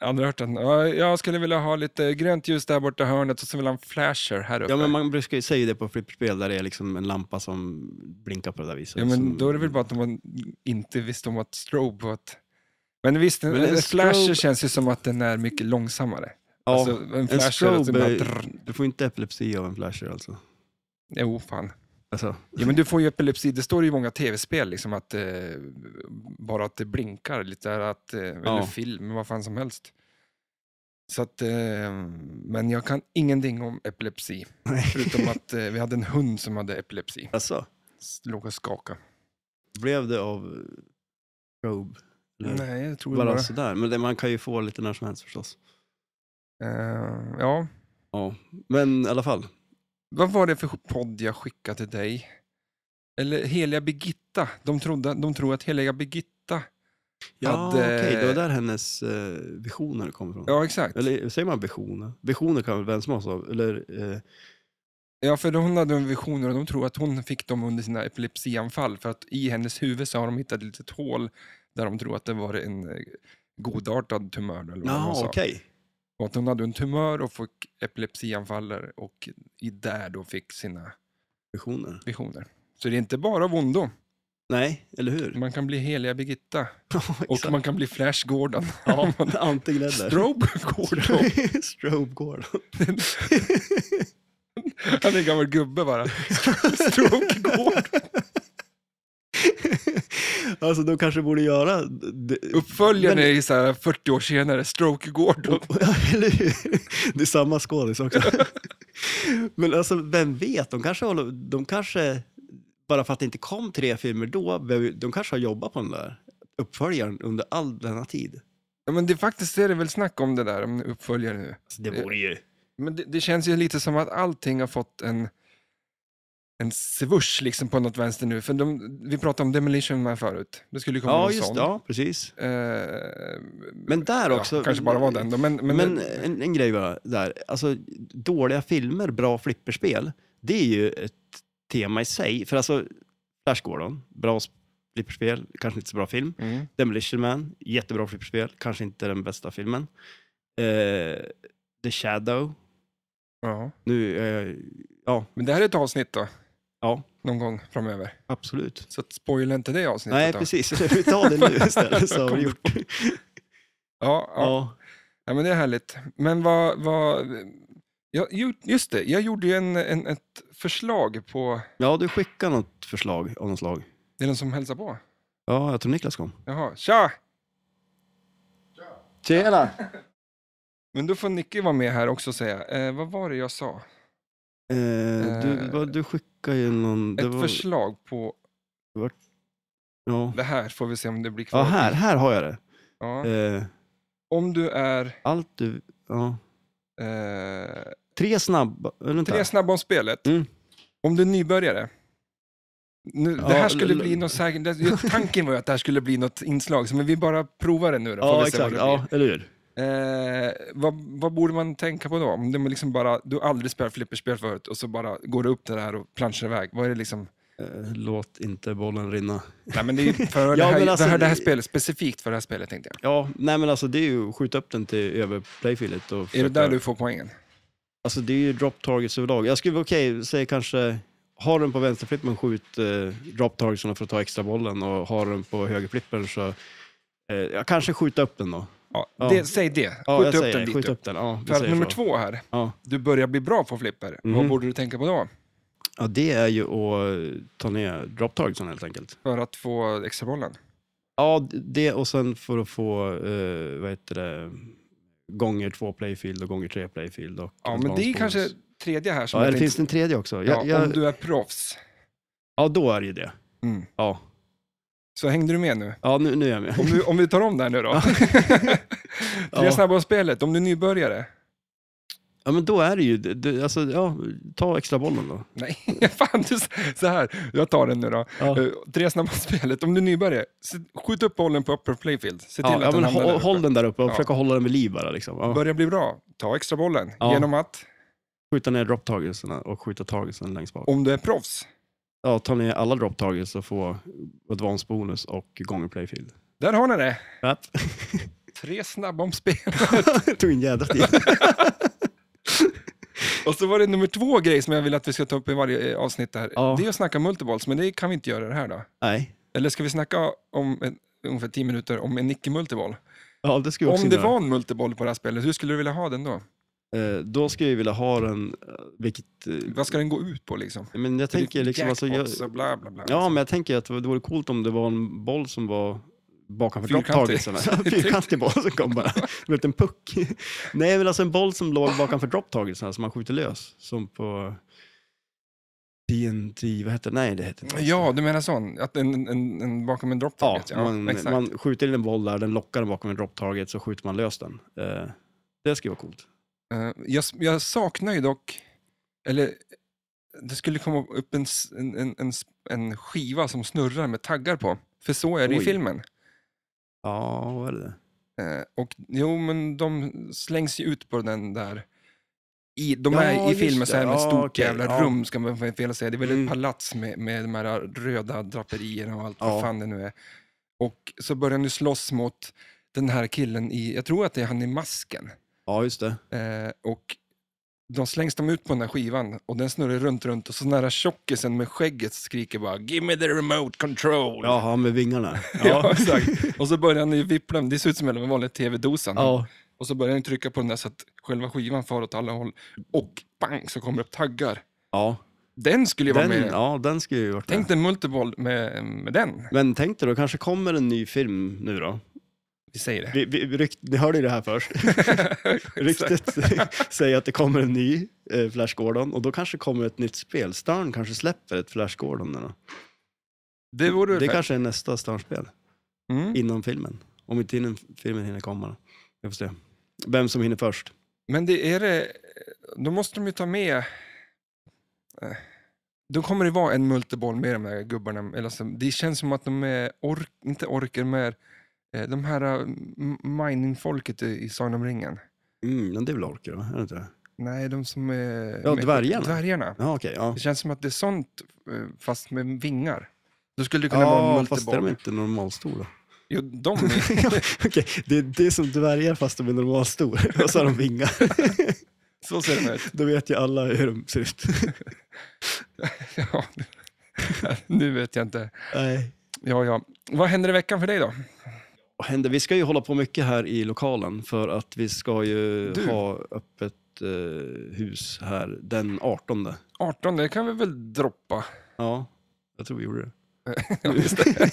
[SPEAKER 1] Aldrig hört den. Ja, Jag skulle vilja ha lite grönt ljus där borta i hörnet och så vill ha en flasher här uppe.
[SPEAKER 2] ja men man brukar ju säga det på flipperspel där det är liksom en lampa som blinkar på det där viset.
[SPEAKER 1] Ja, men
[SPEAKER 2] som...
[SPEAKER 1] då är det väl bara att man inte visste om att strobe var ett... Men visst, en,
[SPEAKER 2] Men en
[SPEAKER 1] en flasher
[SPEAKER 2] strobe-
[SPEAKER 1] känns ju som att den är mycket långsammare.
[SPEAKER 2] Ja,
[SPEAKER 1] alltså, en flasher, alltså,
[SPEAKER 2] strobe-
[SPEAKER 1] bara drr.
[SPEAKER 2] Du får inte epilepsi av en flasher alltså.
[SPEAKER 1] Jo, fan.
[SPEAKER 2] alltså
[SPEAKER 1] Ja, men du får ju epilepsi. Det står ju i många tv-spel, liksom att eh, bara att det blinkar lite, där, att, eh, eller
[SPEAKER 2] Ja.
[SPEAKER 1] film, vad fan som helst. Så att, eh, men jag kan ingenting om epilepsi,
[SPEAKER 2] Nej.
[SPEAKER 1] förutom att eh, vi hade en hund som hade epilepsi.
[SPEAKER 2] alltså,
[SPEAKER 1] Låg och skakade.
[SPEAKER 2] blev det av eh, strobe? Eller
[SPEAKER 1] Nej, jag tror det
[SPEAKER 2] bara
[SPEAKER 1] bara.
[SPEAKER 2] sådär. Men det, man kan ju få lite när som helst förstås.
[SPEAKER 1] Eh, ja,
[SPEAKER 2] Ja, men i alla fall.
[SPEAKER 1] Vad var det för podd jag skickade till dig? Eller Heliga Birgitta. De, trodde, de tror att Heliga Birgitta...
[SPEAKER 2] Ja,
[SPEAKER 1] hade-
[SPEAKER 2] okej, det var där hennes eh, visioner kom ifrån.
[SPEAKER 1] Ja, exakt.
[SPEAKER 2] Eller säger man visioner? Visioner kan väl vem som helst ha? Eller, eh,
[SPEAKER 1] Ja, för hon hade en vision och de tror att hon fick dem under sina epilepsianfall. För att i hennes huvud så har de hittat ett litet hål där de tror att det var en eh, godartad tumör. Eller vad hon
[SPEAKER 2] ja,
[SPEAKER 1] sa.
[SPEAKER 2] okej.
[SPEAKER 1] Och att hon hade en tumör och fick epilepsianfall och i där då fick sina
[SPEAKER 2] Visioner.
[SPEAKER 1] visioner. Så det är inte bara av ondo.
[SPEAKER 2] Nej, eller hur?
[SPEAKER 1] Man kan bli heliga Birgitta.
[SPEAKER 2] Ja,
[SPEAKER 1] Och
[SPEAKER 2] exakt.
[SPEAKER 1] man kan bli Flash Gordon.
[SPEAKER 2] Ja, antingen eller.
[SPEAKER 1] Strobe Gordon.
[SPEAKER 2] Strobe Gordon.
[SPEAKER 1] Han är en gammal gubbe bara. Strobe Gordon.
[SPEAKER 2] Alltså de kanske borde göra... Det,
[SPEAKER 1] Uppföljaren
[SPEAKER 2] Men-
[SPEAKER 1] är ju så här 40 år senare, Stroke Gordon.
[SPEAKER 2] eller hur? Det är samma skådis också. Men alltså vem vet, de kanske håller... De kanske, bara för att det inte kom tre filmer då, de kanske har jobbat på den där uppföljaren under all denna tid.
[SPEAKER 1] Ja, men det är faktiskt är det väl snack om det där, om uppföljare nu.
[SPEAKER 2] Alltså, det vore ju...
[SPEAKER 1] Men det, det känns ju lite som att allting har fått en, en svusch liksom på något vänster nu. För de, vi pratade om Demolition Man förut. Det skulle ju komma
[SPEAKER 2] Ja,
[SPEAKER 1] någon
[SPEAKER 2] just
[SPEAKER 1] sån.
[SPEAKER 2] det. Ja, precis.
[SPEAKER 1] Eh,
[SPEAKER 2] Men där
[SPEAKER 1] ja,
[SPEAKER 2] också...
[SPEAKER 1] kanske bara var den då, men, Mm. eh, men,
[SPEAKER 2] Men, en, en grej bara där. Alltså, dåliga filmer, bra flipperspel. Det är ju ett tema i sig. För alltså, Flash Gordon, bra sp- flipperspel, kanske inte så bra film.
[SPEAKER 1] Mm.
[SPEAKER 2] Demolition Man, jättebra flipperspel, kanske inte den bästa filmen. Eh, The Shadow,
[SPEAKER 1] Ja.
[SPEAKER 2] nu, eh, ja,
[SPEAKER 1] men det här är ett avsnitt då,
[SPEAKER 2] ja,
[SPEAKER 1] någon gång framöver.
[SPEAKER 2] absolut.
[SPEAKER 1] Så att spoila inte det avsnittet
[SPEAKER 2] Nej,
[SPEAKER 1] då.
[SPEAKER 2] precis. Vi tar det nu istället, så har
[SPEAKER 1] Kommer
[SPEAKER 2] vi gjort.
[SPEAKER 1] Ja, ja.
[SPEAKER 2] Ja,
[SPEAKER 1] Ja, men det är härligt. Men vad... vad ja, ju- just det, jag gjorde ju en, en, ett förslag på...
[SPEAKER 2] ja du skickar något förslag av något slag.
[SPEAKER 1] Det är någon som hälsar på.
[SPEAKER 2] Ja, jag tror Niklas kom.
[SPEAKER 1] Jaha, tja!
[SPEAKER 4] Tjena!
[SPEAKER 1] Men då får Nicky vara med här också och säga. Eh, vad var det jag sa?
[SPEAKER 2] Eh, du,
[SPEAKER 1] Eh,
[SPEAKER 2] vad- du skickar ju någon... det
[SPEAKER 1] ett förslag på...
[SPEAKER 2] Ja,
[SPEAKER 1] Det här får vi se om det blir kvar.
[SPEAKER 2] ja här, här har jag det.
[SPEAKER 1] Ja.
[SPEAKER 2] Eh,
[SPEAKER 1] Om du är...
[SPEAKER 2] allt du... Ja.
[SPEAKER 1] Eh,
[SPEAKER 2] Tre snabba... eh, Vänta.
[SPEAKER 1] tre snabba om spelet.
[SPEAKER 2] Mm.
[SPEAKER 1] Om du är nybörjare. Nu,
[SPEAKER 2] Ja,
[SPEAKER 1] det här skulle
[SPEAKER 2] l-
[SPEAKER 1] bli
[SPEAKER 2] l-
[SPEAKER 1] något säkert... det- Tanken var ju att det här skulle bli något inslag, så men vi bara provar det nu då. får
[SPEAKER 2] ja,
[SPEAKER 1] vi se vad
[SPEAKER 2] exakt.
[SPEAKER 1] det blir.
[SPEAKER 2] Ja, eller hur?
[SPEAKER 1] Eh, vad, vad borde man tänka på då? Om det liksom bara, du har aldrig spelat flipperspel förut och så bara går du upp det här och planschar iväg. Vad är det liksom?
[SPEAKER 2] Eh, låt inte bollen rinna.
[SPEAKER 1] Nej, men det är ju för
[SPEAKER 2] Ja,
[SPEAKER 1] det, här,
[SPEAKER 2] men alltså-
[SPEAKER 1] det, här, det här spelet, specifikt för det här spelet tänkte jag.
[SPEAKER 2] Ja, nej men alltså det är ju att skjuta upp den till över playfieldet. Och
[SPEAKER 1] Är det
[SPEAKER 2] försöka-
[SPEAKER 1] där du får poängen?
[SPEAKER 2] Alltså det är ju drop targets överlag. Jag skulle okej, säg kanske, har den på vänsterflippen skjut eh, drop targetsen för att ta extra bollen och har den på högerflippen så eh, jag kanske skjuta upp den då.
[SPEAKER 1] Ja,
[SPEAKER 2] Ja.
[SPEAKER 1] Det, säg det. Skjut
[SPEAKER 2] Ja, jag
[SPEAKER 1] upp
[SPEAKER 2] säger
[SPEAKER 1] den
[SPEAKER 2] det.
[SPEAKER 1] dit
[SPEAKER 2] Skjut
[SPEAKER 1] du-
[SPEAKER 2] upp den. Ja, vi
[SPEAKER 1] För att
[SPEAKER 2] säger
[SPEAKER 1] nummer
[SPEAKER 2] så.
[SPEAKER 1] två här,
[SPEAKER 2] Ja.
[SPEAKER 1] du börjar bli bra på flipper. Vad
[SPEAKER 2] Mhm.
[SPEAKER 1] borde du tänka på då?
[SPEAKER 2] ja, det är ju att ta ner drop targetsen helt enkelt.
[SPEAKER 1] För att få extra bollen?
[SPEAKER 2] Ja, d- det och sen för att få, eh, vad heter det, gånger två playfield och gånger tre playfield. Och
[SPEAKER 1] Ja, men
[SPEAKER 2] advance
[SPEAKER 1] det är
[SPEAKER 2] bonus.
[SPEAKER 1] kanske tredje här som
[SPEAKER 2] Ja,
[SPEAKER 1] jag
[SPEAKER 2] eller
[SPEAKER 1] tänkte-
[SPEAKER 2] finns det en tredje också?
[SPEAKER 1] ja,
[SPEAKER 2] Ja, jag,
[SPEAKER 1] Om du är proffs.
[SPEAKER 2] ja, då är det ju det.
[SPEAKER 1] Mm.
[SPEAKER 2] Ja,
[SPEAKER 1] Så hängde du med nu?
[SPEAKER 2] ja nu, nu är jag med.
[SPEAKER 1] Om vi, om vi tar om det här nu då. Tre
[SPEAKER 2] Ja.
[SPEAKER 1] snabba om spelet, om du är nybörjare.
[SPEAKER 2] Ja, men då är det ju, det- det, alltså, ja, ta extra bollen då.
[SPEAKER 1] Nej, fan du, så här, jag tar den nu då.
[SPEAKER 2] Ja,
[SPEAKER 1] Eh, Tre snabba om spelet, om du är nybörjare, se- skjut upp bollen på upper playfield. Se till
[SPEAKER 2] ja,
[SPEAKER 1] att
[SPEAKER 2] ja
[SPEAKER 1] den
[SPEAKER 2] men
[SPEAKER 1] hamnar där
[SPEAKER 2] hå,
[SPEAKER 1] uppe.
[SPEAKER 2] håll den där uppe och
[SPEAKER 1] Ja.
[SPEAKER 2] försöka hålla den vid liv bara. Liksom. Ja.
[SPEAKER 1] Börja bli bra, ta extra bollen
[SPEAKER 2] Ja.
[SPEAKER 1] genom att,
[SPEAKER 2] Skjuta ner drop targetserna och skjuta targetsen längst bak.
[SPEAKER 1] om du är proffs,
[SPEAKER 2] Ja, ta ner alla drop targets och få advance bonus och gånger playfield.
[SPEAKER 1] där har ni det.
[SPEAKER 2] Ja.
[SPEAKER 1] Tre snabba om spel.
[SPEAKER 2] Det tog en jädra tid.
[SPEAKER 1] Och så var det nummer två grej som jag vill att vi ska ta upp i varje eh, avsnitt här.
[SPEAKER 2] Ja.
[SPEAKER 1] Det är att snacka multiballs, men det kan vi inte göra i det här då.
[SPEAKER 2] Nej,
[SPEAKER 1] Eller ska vi snacka om en, ungefär tio minuter om en icke-multiboll?
[SPEAKER 2] ja, det skulle jag också
[SPEAKER 1] Om det
[SPEAKER 2] göra.
[SPEAKER 1] var en multiboll på det här spelet, hur skulle du vilja ha den då?
[SPEAKER 2] Eh, då skulle jag vilja ha den, eh, vilket... eh,
[SPEAKER 1] Vad ska den gå ut på liksom?
[SPEAKER 2] Men jag tänker liksom... Alltså, jag,
[SPEAKER 1] Jackpots och bla bla bla.
[SPEAKER 2] ja, men jag tänker att det vore coolt om det var en boll som var bakom
[SPEAKER 1] Fyrkantig.
[SPEAKER 2] dropptagelserna. Fyrkantig boll som kom bara. Som en puck. Nej, men alltså en boll som låg bakom dropptagelserna som man skjuter lös. Som på TNT, vad heter det? Nej, det heter inte.
[SPEAKER 1] Ja, du menar sån? Att en, en, en bakom en drop
[SPEAKER 2] Ja,
[SPEAKER 1] target,
[SPEAKER 2] man,
[SPEAKER 1] exakt.
[SPEAKER 2] man skjuter in en boll där, den lockar den bakom en dropptaget så skjuter man lös den. Eh, det skulle vara coolt.
[SPEAKER 1] Eh, jag, jag saknar ju dock, eller det skulle komma upp en, s- en, en, en, s- en skiva som snurrar med taggar på. För så är det i
[SPEAKER 2] Oj.
[SPEAKER 1] filmen.
[SPEAKER 2] Ja, vad är det?
[SPEAKER 1] Eh, och jo, men de slängs ju ut på den där. I, de
[SPEAKER 2] Ja,
[SPEAKER 1] är i
[SPEAKER 2] just
[SPEAKER 1] filmen så är
[SPEAKER 2] det.
[SPEAKER 1] det ett
[SPEAKER 2] Ja,
[SPEAKER 1] stort
[SPEAKER 2] okej,
[SPEAKER 1] jävla
[SPEAKER 2] ja.
[SPEAKER 1] rum, ska man fel att säga. Det är väl
[SPEAKER 2] Mm.
[SPEAKER 1] ett palats med, med de här röda draperierna och allt vad
[SPEAKER 2] Ja.
[SPEAKER 1] fan det nu är. Och så börjar nu slåss mot den här killen i, jag tror att det är han i masken.
[SPEAKER 2] Ja, just det.
[SPEAKER 1] Eh, och de slängs de ut på den där skivan och den snurrar runt, runt och så nära tjockisen med skägget skriker bara “Give me the remote control”.
[SPEAKER 2] Jaha, med vingarna.
[SPEAKER 1] Ja, exakt. Och så börjar han ju vippla, det ser ut som en vanlig tv-dosan.
[SPEAKER 2] ja.
[SPEAKER 1] Och så börjar han trycka på den där så att själva skivan far åt alla håll. Och bang så kommer det upp taggar.
[SPEAKER 2] ja.
[SPEAKER 1] Den skulle ju vara
[SPEAKER 2] Den,
[SPEAKER 1] med.
[SPEAKER 2] ja, den skulle ju varit
[SPEAKER 1] Tänk
[SPEAKER 2] med.
[SPEAKER 1] dig en multiboll med, med den.
[SPEAKER 2] Men tänk dig då, kanske kommer en ny film nu då?
[SPEAKER 1] Vi säger det.
[SPEAKER 2] Vi, vi, vi rykt, ni hörde ju det här först. Ryktet säger att det kommer en ny eh, Flash Gordon och då kanske kommer ett nytt spel. Stern kanske släpper ett Flash Gordon. nu Då.
[SPEAKER 1] Det vore väl
[SPEAKER 2] Det
[SPEAKER 1] fett.
[SPEAKER 2] kanske är nästa Stern-spel
[SPEAKER 1] mm.
[SPEAKER 2] innan filmen. Om inte innan filmen hinner komma. då. Jag får se. Vem som hinner först.
[SPEAKER 1] Men det är det, då måste de ju ta med... eh, Då kommer det vara en multiboll med de här gubbarna. Eller så, det känns som att de är, ork, inte orker med eh, de här eh, m- miningfolket i, i Sagan om ringen.
[SPEAKER 2] Mm, men det är väl orker, va? Är det inte det?
[SPEAKER 1] Nej, de som är...
[SPEAKER 2] Ja,
[SPEAKER 1] med-
[SPEAKER 2] dvärgarna.
[SPEAKER 1] Dvärgarna.
[SPEAKER 2] Ja, okej. ja.
[SPEAKER 1] Det känns som att det är sånt, eh, fast med vingar. Då skulle det kunna vara en
[SPEAKER 2] Ja, fast är de
[SPEAKER 1] multiboll.
[SPEAKER 2] inte normalstora.
[SPEAKER 1] Jo, de är...
[SPEAKER 2] Okej, det, det är som dvärgar fast de är normalstora. Och så har de vingar.
[SPEAKER 1] Så ser de ut.
[SPEAKER 2] Då vet ju alla hur de ser ut.
[SPEAKER 1] Ja. Nu vet jag inte.
[SPEAKER 2] Nej.
[SPEAKER 1] Ja, ja. Vad händer i veckan för dig då?
[SPEAKER 2] Vad händer? Vi ska ju hålla på mycket här i lokalen för att vi ska ju
[SPEAKER 1] Du.
[SPEAKER 2] ha öppet eh, hus här den 18.
[SPEAKER 1] 18, det kan vi väl droppa.
[SPEAKER 2] Ja, jag tror vi gjorde det.
[SPEAKER 1] Ja, just det.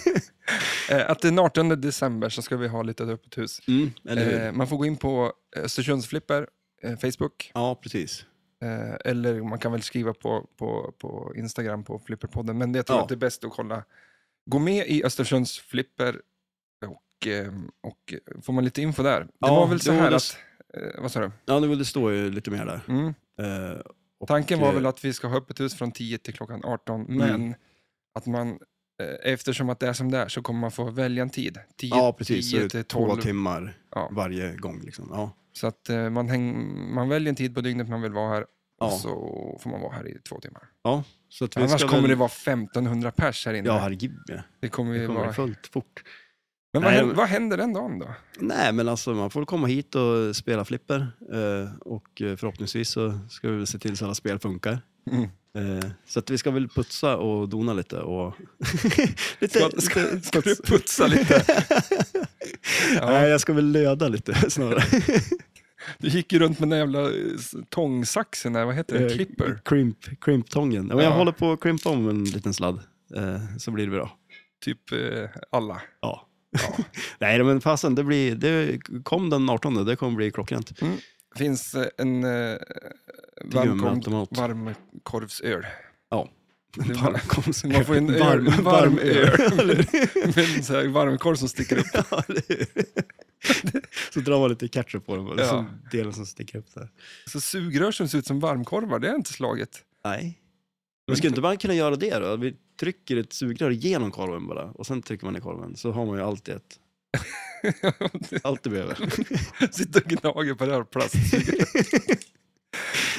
[SPEAKER 1] Eh, Att den 18 december så ska vi ha lite öppet hus.
[SPEAKER 2] Mm, eller hur?
[SPEAKER 1] Eh, Man får gå in på Östersundsflipper, eh, Facebook,
[SPEAKER 2] Ja, precis.
[SPEAKER 1] eh, eller man kan väl skriva på, på, på Instagram på Flipperpodden, men jag tror
[SPEAKER 2] Ja.
[SPEAKER 1] att det är bäst att kolla. Gå med i Östersunds Flipper och, eh, och får man lite info där. Det
[SPEAKER 2] Ja,
[SPEAKER 1] var väl så
[SPEAKER 2] jo,
[SPEAKER 1] här
[SPEAKER 2] det-
[SPEAKER 1] att, eh, vad sa du?
[SPEAKER 2] Ja, nu vill det stå ju lite mer där.
[SPEAKER 1] Mm.
[SPEAKER 2] Eh, och,
[SPEAKER 1] Tanken var
[SPEAKER 2] eh, Mm.
[SPEAKER 1] väl att vi ska ha öppet hus från 10 till klockan 18, men att man, eh, eftersom att det är som det är, så kommer man få välja en tid. 10,
[SPEAKER 2] Ja, precis. Så
[SPEAKER 1] 10
[SPEAKER 2] det är
[SPEAKER 1] till
[SPEAKER 2] två
[SPEAKER 1] 12.
[SPEAKER 2] timmar
[SPEAKER 1] Ja.
[SPEAKER 2] varje gång. Liksom. Ja.
[SPEAKER 1] Så att eh, man, häng, man väljer en tid på dygnet man vill vara här,
[SPEAKER 2] Ja.
[SPEAKER 1] och så får man vara här i två timmar.
[SPEAKER 2] Ja, så att vi
[SPEAKER 1] Annars
[SPEAKER 2] ska
[SPEAKER 1] kommer
[SPEAKER 2] väl-
[SPEAKER 1] det vara 1500 pers här inne.
[SPEAKER 2] Ja, herregud. ja.
[SPEAKER 1] det kommer ju
[SPEAKER 2] Det kommer
[SPEAKER 1] vara...
[SPEAKER 2] fullt fort.
[SPEAKER 1] Men vad,
[SPEAKER 2] Nej,
[SPEAKER 1] händer,
[SPEAKER 2] men-
[SPEAKER 1] vad händer den dagen då?
[SPEAKER 2] Nej, men alltså man får väl komma hit och spela flipper. Eh, och eh, förhoppningsvis så ska vi väl se till så alla spel funkar.
[SPEAKER 1] Mm.
[SPEAKER 2] Eh, så att vi ska väl putsa och dona lite och... lite,
[SPEAKER 1] Ska, ska,
[SPEAKER 2] lite
[SPEAKER 1] ska du
[SPEAKER 2] puts.
[SPEAKER 1] putsa lite?
[SPEAKER 2] Nej,
[SPEAKER 1] Ja,
[SPEAKER 2] jag ska väl löda lite snarare.
[SPEAKER 1] du gick ju runt med den jävla eh, s- tångsaxen där, vad heter det?
[SPEAKER 2] Eh,
[SPEAKER 1] Clipper?
[SPEAKER 2] Crimp, crimptången. Ja, men
[SPEAKER 1] Ja.
[SPEAKER 2] Jag håller på att crimpa om en liten sladd, eh, så blir det bra.
[SPEAKER 1] Typ eh, alla.
[SPEAKER 2] Ja.
[SPEAKER 1] Ja.
[SPEAKER 2] Nej, men fasen, det, blir, det kom den 18, det kommer bli klockrent.
[SPEAKER 1] finns eh, en eh,
[SPEAKER 2] Gummiautomat.
[SPEAKER 1] varmkorv, varmkorvsöl.
[SPEAKER 2] Ja.
[SPEAKER 1] Det var-
[SPEAKER 2] Varmkorvsöl.
[SPEAKER 1] Man får en öl,
[SPEAKER 2] Varm-
[SPEAKER 1] varm,
[SPEAKER 2] varm
[SPEAKER 1] öl.
[SPEAKER 2] öl, eller
[SPEAKER 1] Med en så här varmkorv som sticker upp.
[SPEAKER 2] Ja, eller hur? så drar man lite ketchup på dem, och
[SPEAKER 1] Ja.
[SPEAKER 2] liksom delen som sticker upp där.
[SPEAKER 1] Så sugrör som ser ut som varmkorvar, det är inte slaget.
[SPEAKER 2] Nej. Men skulle inte man kunna göra det då? Vi trycker ett sugrör genom korven bara och sen trycker man i korven så har man ju alltid ett. Allt du behöver.
[SPEAKER 1] Sitter och gnager på det här plastsugröret.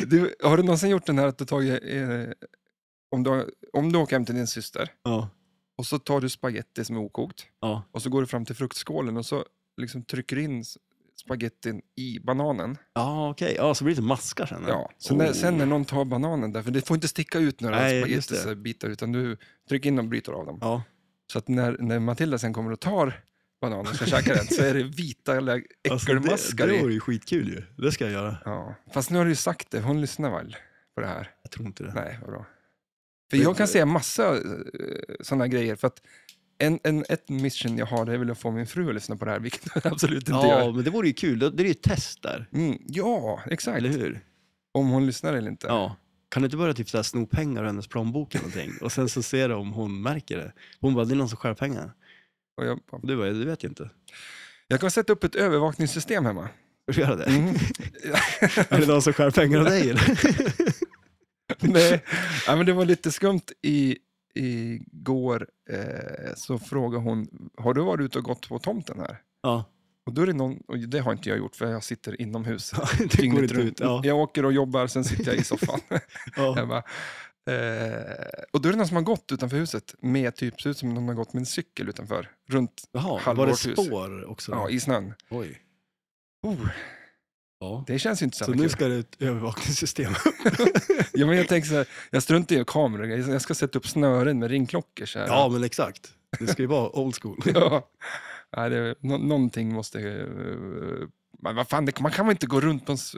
[SPEAKER 1] Du, har du någonsin gjort den här att du tagit, eh, om, du, har- om du åker hem till din syster
[SPEAKER 2] Ja.
[SPEAKER 1] och så tar du spaghetti som är okokt
[SPEAKER 2] Ja.
[SPEAKER 1] och så går du fram till fruktskålen och så liksom trycker in s- spagettin i bananen.
[SPEAKER 2] Ja, okej. Ja, så blir det lite maskar sen.
[SPEAKER 1] Ja, så när,
[SPEAKER 2] Oh.
[SPEAKER 1] sen när någon tar bananen där, för det får inte sticka ut några
[SPEAKER 2] Nej, just det.
[SPEAKER 1] spagettibitar, utan du trycker in dem och bryter av dem.
[SPEAKER 2] Ja.
[SPEAKER 1] Så att när, när Matilda sen kommer och tar bananen och ska käka den, så är det vita eller
[SPEAKER 2] Alltså, det,
[SPEAKER 1] äckelmaskar
[SPEAKER 2] det
[SPEAKER 1] i.
[SPEAKER 2] vore ju skitkul ju. Det ska jag göra.
[SPEAKER 1] Ja. Fast nu har du ju sagt det, hon lyssnar väl på det här?
[SPEAKER 2] Jag tror inte det.
[SPEAKER 1] Nej, vad bra. För jag kan säga massa sådana grejer, för att en, en, ett mission jag har det är väl att få min fru att lyssna på det här, vilket jag absolut inte
[SPEAKER 2] ja,
[SPEAKER 1] gör.
[SPEAKER 2] men det vore ju kul. Det, det är ju ett test där.
[SPEAKER 1] Mm, ja, exakt.
[SPEAKER 2] Eller hur?
[SPEAKER 1] Om hon lyssnar eller inte.
[SPEAKER 2] Ja. Kan du inte börja typ så här, sno pengar ur hennes plånbok eller någonting? Och sen så ser du om hon märker det. Hon bara, det är någon som stjäl pengar.
[SPEAKER 1] Och jag,
[SPEAKER 2] Och du bara, du vet ju inte.
[SPEAKER 1] jag kan sätta upp ett övervakningssystem hemma.
[SPEAKER 2] Ska du göra det?
[SPEAKER 1] Mm.
[SPEAKER 2] Är det någon som skär pengar av dig eller?
[SPEAKER 1] Nej, ja, men det var lite skumt i igår eh, så frågade hon, har du varit ute och gått på tomten här?
[SPEAKER 2] Ja,
[SPEAKER 1] Och då är det någon, och det har inte jag gjort för jag sitter inomhus
[SPEAKER 2] det går
[SPEAKER 1] dygnet
[SPEAKER 2] inte ut.
[SPEAKER 1] runt.
[SPEAKER 2] Ja,
[SPEAKER 1] Jag åker och jobbar, sen sitter jag i soffan.
[SPEAKER 2] ja.
[SPEAKER 1] jag bara, eh, och då är det någon som har gått utanför huset med typ, ser ut som någon har gått med en cykel utanför, runt,
[SPEAKER 2] Jaha, var det
[SPEAKER 1] Halvårshus.
[SPEAKER 2] spår också?
[SPEAKER 1] ja, i snön.
[SPEAKER 2] Oj.
[SPEAKER 1] Oh,
[SPEAKER 2] Ja.
[SPEAKER 1] Det känns ju inte så,
[SPEAKER 2] Så
[SPEAKER 1] jävla
[SPEAKER 2] nu
[SPEAKER 1] kul.
[SPEAKER 2] ska det ett övervakningssystem.
[SPEAKER 1] ja, men jag tänker så här, jag struntar i kameror. Jag jag ska sätta upp snören med ringklockor. Så här.
[SPEAKER 2] ja, men exakt. Det ska ju vara old school.
[SPEAKER 1] Ja. Nej, det, nå- någonting måste... eh, Men vad fan, det, man kan väl inte gå runt på en s-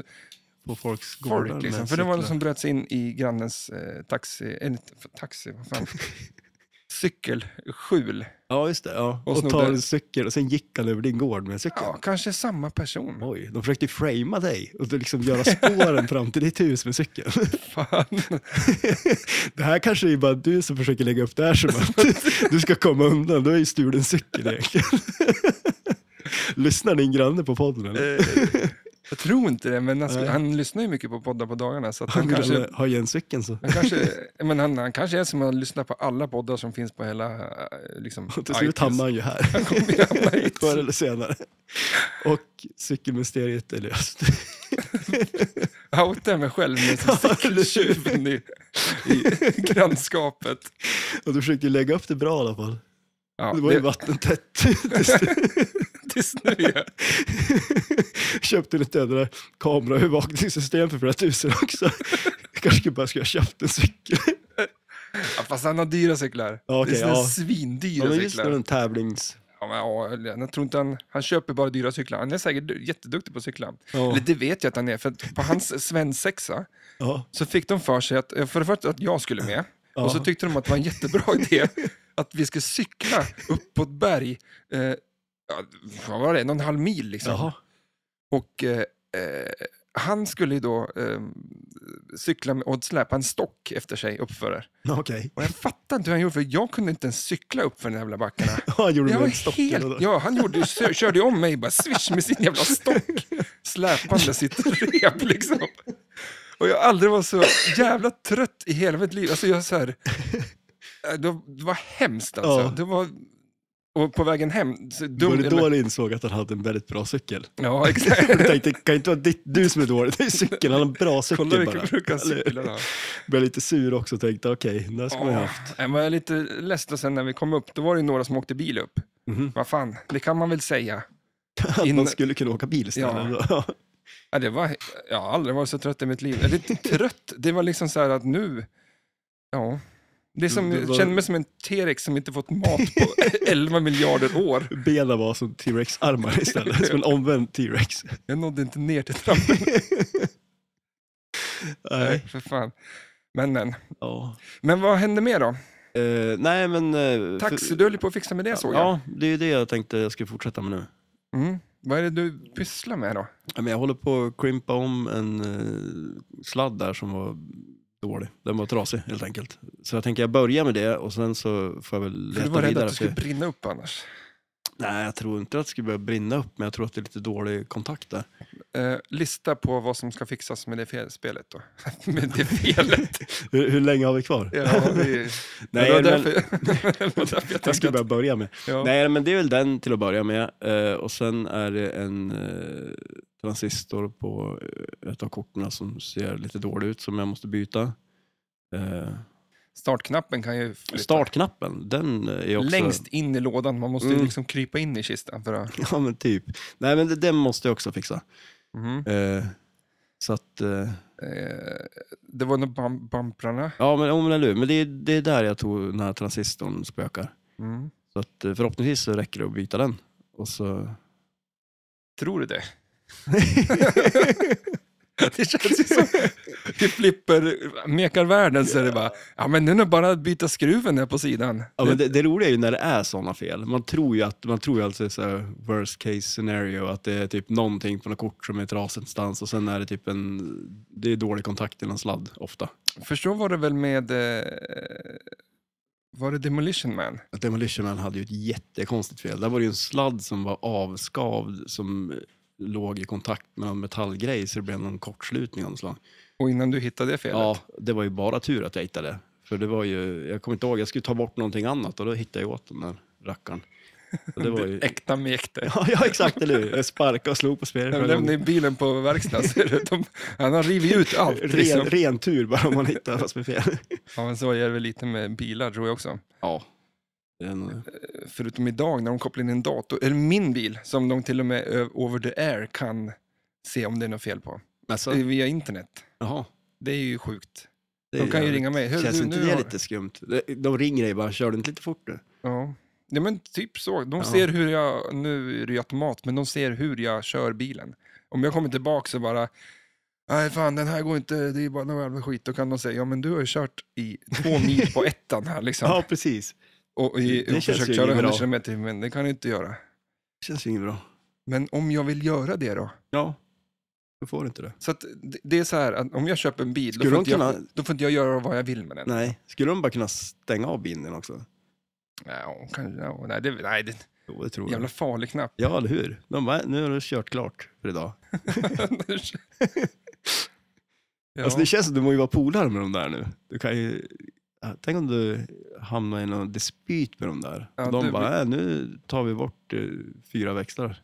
[SPEAKER 2] På folks gårdar.
[SPEAKER 1] folk
[SPEAKER 2] med
[SPEAKER 1] liksom. För det var någon
[SPEAKER 2] cyklar.
[SPEAKER 1] som bröt sig in i grannens eh, taxi... Eller t- taxi, vad fan? Cykelskjul.
[SPEAKER 2] Ja, just det. Ja.
[SPEAKER 1] Och
[SPEAKER 2] Och,
[SPEAKER 1] snodde-
[SPEAKER 2] tar en cykel och sen gick han över din gård med cykeln.
[SPEAKER 1] Ja, kanske samma person.
[SPEAKER 2] Oj, de försökte ju framea dig och du liksom göra spåren fram till ditt hus med cykeln.
[SPEAKER 1] Fan.
[SPEAKER 2] Det här kanske är bara du som försöker lägga upp det här som att du ska komma undan. Du har ju stulit en cykel egentligen. Lyssnar din granne på podden eller?
[SPEAKER 1] Jag tror inte det, men alltså,
[SPEAKER 2] Eh. Nej.
[SPEAKER 1] han lyssnar ju mycket på poddar på dagarna. Så att han,
[SPEAKER 2] Han
[SPEAKER 1] kanske,
[SPEAKER 2] kanske har igen cykeln så.
[SPEAKER 1] han, kanske, men han, han kanske är som att lyssna på alla poddar som finns på hela... eh, Liksom,
[SPEAKER 2] Och till slut
[SPEAKER 1] iTunes.
[SPEAKER 2] hamnar han ju här.
[SPEAKER 1] Kommer ju hamna hit.
[SPEAKER 2] Förr eller senare. Och cykelmysteriet är löst.
[SPEAKER 1] Outa mig själv med som cykeltjuven i, i grannskapet.
[SPEAKER 2] Och du försökte ju lägga upp det bra i alla fall.
[SPEAKER 1] Ja,
[SPEAKER 2] Det var ju
[SPEAKER 1] det,
[SPEAKER 2] vattentätt. Till slut
[SPEAKER 1] tills nu. ja.
[SPEAKER 2] Köpte lite jävla kameraövervakningssystem för flera tusen också. Jag kanske skulle bara ska jag köpt en cykel.
[SPEAKER 1] Ja, fast han har dyra cyklar.
[SPEAKER 2] Ja, okej,
[SPEAKER 1] det är såna
[SPEAKER 2] ja.
[SPEAKER 1] svindyra
[SPEAKER 2] Ja, men just
[SPEAKER 1] cyklar.
[SPEAKER 2] den tävlings...
[SPEAKER 1] Ja, men, ja, eller, jag tror inte han, han köper bara dyra cyklar. Han är säkert du- jätteduktig på att cykla.
[SPEAKER 2] Ja.
[SPEAKER 1] Eller det vet jag att han är, för att på hans svensexa
[SPEAKER 2] Ja.
[SPEAKER 1] så fick de för sig att, för det första att jag skulle med, och så
[SPEAKER 2] Ja.
[SPEAKER 1] tyckte de att det var en jättebra idé att vi skulle cykla upp på ett berg, eh, ja, vad var det, någon halv mil liksom.
[SPEAKER 2] Jaha.
[SPEAKER 1] Och eh, eh, han skulle ju då eh, cykla med, och släpa en stock efter sig uppför det.
[SPEAKER 2] Ja, Okej.
[SPEAKER 1] Och jag fattar inte hur han gjorde, för jag kunde inte ens cykla uppför de jävla backarna.
[SPEAKER 2] Ja, han gjorde
[SPEAKER 1] Jag
[SPEAKER 2] med en
[SPEAKER 1] var
[SPEAKER 2] stock.
[SPEAKER 1] helt, ja, han gjorde, ju- kö- körde ju om mig bara swish med sin jävla stock, släpande sitt rep liksom. Och jag har aldrig varit så jävla trött i hela mitt liv. Alltså jag så här, eh, det var- det var hemskt alltså.
[SPEAKER 2] Ja.
[SPEAKER 1] Det var, och på vägen hem, så
[SPEAKER 2] Det var
[SPEAKER 1] dum,
[SPEAKER 2] det då du insåg att han hade en väldigt bra cykel?
[SPEAKER 1] Ja, exakt.
[SPEAKER 2] Jag tänkte, det kan inte vara ditt, du som är dålig, det är cykeln, han har en bra cykel
[SPEAKER 1] Kolla
[SPEAKER 2] bara.
[SPEAKER 1] vilka brukar
[SPEAKER 2] Eller-
[SPEAKER 1] cykla då.
[SPEAKER 2] Blev lite sur också och tänkte, okej, den där ska man ju ha.
[SPEAKER 1] Ja, Jag var lite ledsen sen när vi kom upp. Då var det ju några som åkte bil upp. Vad fan, det kan man väl säga.
[SPEAKER 2] Att
[SPEAKER 1] Innan-
[SPEAKER 2] Mhm. man skulle kunna åka bil istället. Ja.
[SPEAKER 1] Ja, det var, jag har aldrig varit så trött i mitt liv. Eller trött, det var liksom så här att nu... Ja. Det är som,
[SPEAKER 2] Det
[SPEAKER 1] jag
[SPEAKER 2] var-
[SPEAKER 1] känner mig som en T-rex som inte fått mat på 11 miljarder år.
[SPEAKER 2] Benen var som T-Rex-armar istället, som en omvänd T-Rex.
[SPEAKER 1] Jag nådde inte ner till trappen.
[SPEAKER 2] Nej.
[SPEAKER 1] För fan. Men, men.
[SPEAKER 2] Ja.
[SPEAKER 1] men vad hände mer då?
[SPEAKER 2] Eh, nej, men... Uh,
[SPEAKER 1] Taxi, du höll ju på att fixa med det såg jag.
[SPEAKER 2] Ja, det är ju det jag tänkte jag skulle fortsätta med nu.
[SPEAKER 1] Mm. Vad är det du pysslar med då?
[SPEAKER 2] Ja, men Jag håller på att krympa om en eh, sladd där som var dålig. Den var trasig helt enkelt. Så jag tänker jag börjar med det och sen så får jag väl
[SPEAKER 1] För
[SPEAKER 2] leta
[SPEAKER 1] du var rädd
[SPEAKER 2] vidare.
[SPEAKER 1] att du
[SPEAKER 2] för-
[SPEAKER 1] skulle brinna upp annars.
[SPEAKER 2] Nej, jag tror inte att det skulle börja brinna upp, men jag tror att det är lite dålig kontakt där.
[SPEAKER 1] Eh, lista på vad som ska fixas med det fel spelet då. med det felet.
[SPEAKER 2] Hur, hur länge har vi kvar?
[SPEAKER 1] Ja, vi, det
[SPEAKER 2] Nej,
[SPEAKER 1] var
[SPEAKER 2] men-
[SPEAKER 1] därför, det var därför jag
[SPEAKER 2] Jag
[SPEAKER 1] tänkte
[SPEAKER 2] skulle
[SPEAKER 1] att...
[SPEAKER 2] bara börja med.
[SPEAKER 1] Ja.
[SPEAKER 2] Nej, men det är väl den till att börja med. Eh, och sen är det en eh, transistor på eh, ett av korten som ser lite dålig ut som jag måste byta. Eh,
[SPEAKER 1] Startknappen kan ju flytta.
[SPEAKER 2] startknappen, den är också...
[SPEAKER 1] Längst in i lådan, man måste ju
[SPEAKER 2] Mm.
[SPEAKER 1] liksom krypa in i kistan. För att...
[SPEAKER 2] Ja, men typ. Nej, men det- den måste jag också fixa.
[SPEAKER 1] Mhm.
[SPEAKER 2] Eh, så att... Eh,
[SPEAKER 1] eh, det var nog bam bumprarna.
[SPEAKER 2] ja, men, om eller hur. Men det, är- det är där jag tror den här transistorn spökar.
[SPEAKER 1] Mm.
[SPEAKER 2] Så att, eh, förhoppningsvis så räcker det att byta den. Och så...
[SPEAKER 1] Tror du det? det känns ju som i flipper mekar världen så är det bara, ja men nu är det bara att byta skruven här på sidan.
[SPEAKER 2] Ja, men det, det roliga är ju när det är sådana fel. Man tror ju att man tror ju alltså så här worst case scenario, att det är typ någonting på något kort som är trasigt någonstans och sen är det typ en, det är dålig kontakt i någon sladd ofta.
[SPEAKER 1] För så var det väl med, eh, var det Demolition Man?
[SPEAKER 2] Att Demolition Man hade ju ett jättekonstigt fel. Där var det ju en sladd som var avskavd som eh, låg i kontakt med någon metallgrej så det blev någon kortslutning av något slag.
[SPEAKER 1] Och innan du hittade det felet?
[SPEAKER 2] Ja, det var ju bara tur att jag hittade det. För det var ju, jag kommer inte ihåg, jag skulle ta bort någonting annat och då hittade jag åt den där rackaren. Och det var ju...
[SPEAKER 1] Äkta mek det.
[SPEAKER 2] Ja, ja, exakt, eller hur? Jag sparkade och slog på
[SPEAKER 1] Jag lämnade
[SPEAKER 2] spelet.
[SPEAKER 1] ju bilen på verkstaden. så är det- de- Han har rivit ut allt.
[SPEAKER 2] Ren,
[SPEAKER 1] Liksom.
[SPEAKER 2] ren tur bara om man hittar vad som är fel.
[SPEAKER 1] Ja, men så är det väl lite med bilar tror jag också.
[SPEAKER 2] Ja. Det är nog-
[SPEAKER 1] Förutom idag när de kopplar in en dator, eller min bil, som de till och med ö- over the air kan se om det är något fel på.
[SPEAKER 2] Alltså,
[SPEAKER 1] Eh, Via internet.
[SPEAKER 2] jaha.
[SPEAKER 1] Det är ju sjukt.
[SPEAKER 2] Det
[SPEAKER 1] De kan ju
[SPEAKER 2] jävligt-
[SPEAKER 1] ringa mig. Hur-
[SPEAKER 2] Känns
[SPEAKER 1] du-
[SPEAKER 2] inte
[SPEAKER 1] nu
[SPEAKER 2] det
[SPEAKER 1] har-
[SPEAKER 2] lite skumt? De- De ringer dig bara, kör du inte lite fort nu?
[SPEAKER 1] Ja. ja, men typ så. De
[SPEAKER 2] Ja.
[SPEAKER 1] ser hur jag, nu är det ju automat, men de ser hur jag kör bilen. Om jag kommer tillbaka så bara, nej fan den här går inte, det är bara någon jävla skit. Då kan de säga, ja men du har ju kört i två mil på ettan här liksom.
[SPEAKER 2] Ja, precis.
[SPEAKER 1] och
[SPEAKER 2] det
[SPEAKER 1] i, och
[SPEAKER 2] känns ju
[SPEAKER 1] försökt
[SPEAKER 2] inget
[SPEAKER 1] köra 100
[SPEAKER 2] bra.
[SPEAKER 1] km i timmen, det kan jag inte göra.
[SPEAKER 2] Det känns ju inget bra.
[SPEAKER 1] Men om jag vill göra det då?
[SPEAKER 2] Ja, då får du inte det.
[SPEAKER 1] Så att det- det är så här, att om jag köper en bil, då
[SPEAKER 2] Skulle
[SPEAKER 1] får,
[SPEAKER 2] de
[SPEAKER 1] inte jag,
[SPEAKER 2] kunna-
[SPEAKER 1] då får inte jag göra vad jag vill med den.
[SPEAKER 2] Nej, skulle de bara kunna stänga av binden också?
[SPEAKER 1] Ja, kanske, ja, nej, det, nej, det är
[SPEAKER 2] Jo, det tror
[SPEAKER 1] en
[SPEAKER 2] jag.
[SPEAKER 1] jävla farlig knapp.
[SPEAKER 2] Ja, eller hur? De bara, nu har du kört klart för idag.
[SPEAKER 1] ja.
[SPEAKER 2] Alltså det känns som att du måste ju vara polare med de där nu. Du kan ju... ja, Tänk om du hamnar i någon dispyt med de där.
[SPEAKER 1] Ja,
[SPEAKER 2] och de
[SPEAKER 1] du-
[SPEAKER 2] bara, äh, nu tar vi bort eh, fyra växlar.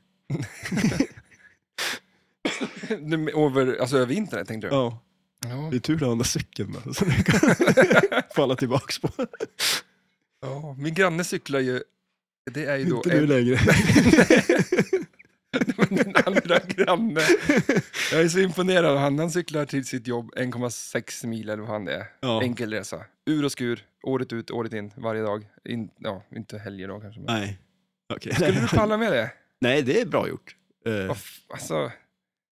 [SPEAKER 1] Nu, Över, alltså över internet tänkte du?
[SPEAKER 2] Ja,
[SPEAKER 1] Ja.
[SPEAKER 2] det är tur du använder cykeln då, så du kan falla tillbaks på.
[SPEAKER 1] ja. Min granne cyklar ju, det är ju då
[SPEAKER 2] Inte
[SPEAKER 1] en,
[SPEAKER 2] nu längre.
[SPEAKER 1] min andra granne. Jag är så imponerad av han. Han cyklar till sitt jobb 1,6 mil eller vad han det är.
[SPEAKER 2] Ja.
[SPEAKER 1] Enkel resa. Ur och skur, året ut, året in, varje dag. In, ja, inte helger då kanske. Men.
[SPEAKER 2] Nej. Okej.
[SPEAKER 1] Skulle du palla med det?
[SPEAKER 2] Nej, det är bra gjort. Eh,
[SPEAKER 1] Vad f- Alltså,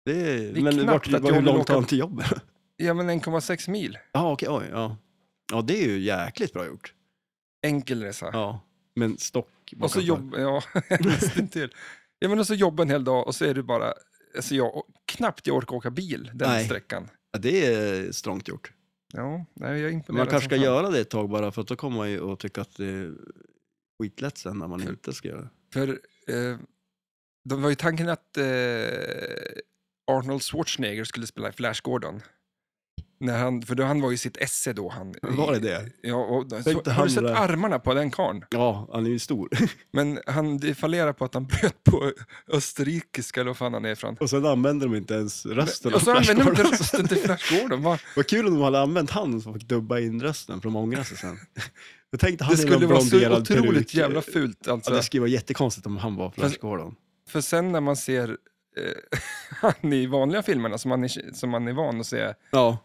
[SPEAKER 2] det är,
[SPEAKER 1] det är
[SPEAKER 2] men
[SPEAKER 1] knappt
[SPEAKER 2] vart,
[SPEAKER 1] att jag
[SPEAKER 2] hur
[SPEAKER 1] vill
[SPEAKER 2] långt
[SPEAKER 1] åka-
[SPEAKER 2] har han till jobbet?
[SPEAKER 1] ja men 1,6 mil.
[SPEAKER 2] Ja, okej, oj, ja. Ja, det är ju jäkligt bra gjort.
[SPEAKER 1] Enkel resa.
[SPEAKER 2] Ja, men stock.
[SPEAKER 1] Och så
[SPEAKER 2] bakom.
[SPEAKER 1] jobb, ja, till. Ja men och så jobba en hel dag och så är du bara, alltså jag, knappt jag orkar åka bil den
[SPEAKER 2] Nej.
[SPEAKER 1] sträckan.
[SPEAKER 2] Ja, det är strångt gjort.
[SPEAKER 1] Ja, nej, jag är
[SPEAKER 2] Men
[SPEAKER 1] imponerad.
[SPEAKER 2] man kanske ska
[SPEAKER 1] som fan.
[SPEAKER 2] göra det ett tag bara för att då kommer man ju att tycka att det är skitlätt sen när man inte ska göra det.
[SPEAKER 1] För eh, det var ju tanken att eh, Arnold Schwarzenegger skulle spela i Flash Gordon. När han, för då, han var ju i sitt esse då. Han,
[SPEAKER 2] Var det det?
[SPEAKER 1] Ja, och, så,
[SPEAKER 2] Tänkte
[SPEAKER 1] har
[SPEAKER 2] han
[SPEAKER 1] du sett
[SPEAKER 2] där.
[SPEAKER 1] armarna på den karln?
[SPEAKER 2] Ja, han är ju stor.
[SPEAKER 1] Men han det fallerar på att han bröt på österrikiska eller vad fan han är ifrån.
[SPEAKER 2] Och sen använder de inte ens rösten.
[SPEAKER 1] Och så
[SPEAKER 2] av
[SPEAKER 1] använder de inte
[SPEAKER 2] Flashgordon.
[SPEAKER 1] rösten till Flash Gordon. Va?
[SPEAKER 2] Vad kul om de hade använt han som fick dubba in rösten för de ångrar sig sen. Jag tänkte han
[SPEAKER 1] Det
[SPEAKER 2] i någon
[SPEAKER 1] skulle vara så
[SPEAKER 2] blonderad
[SPEAKER 1] otroligt
[SPEAKER 2] peruk.
[SPEAKER 1] jävla fult.
[SPEAKER 2] Ja,
[SPEAKER 1] Alltså.
[SPEAKER 2] det skulle vara jättekonstigt om han var Flash Gordon.
[SPEAKER 1] För sen när man ser eh, han i vanliga filmerna som man är, som man är van att se
[SPEAKER 2] Ja,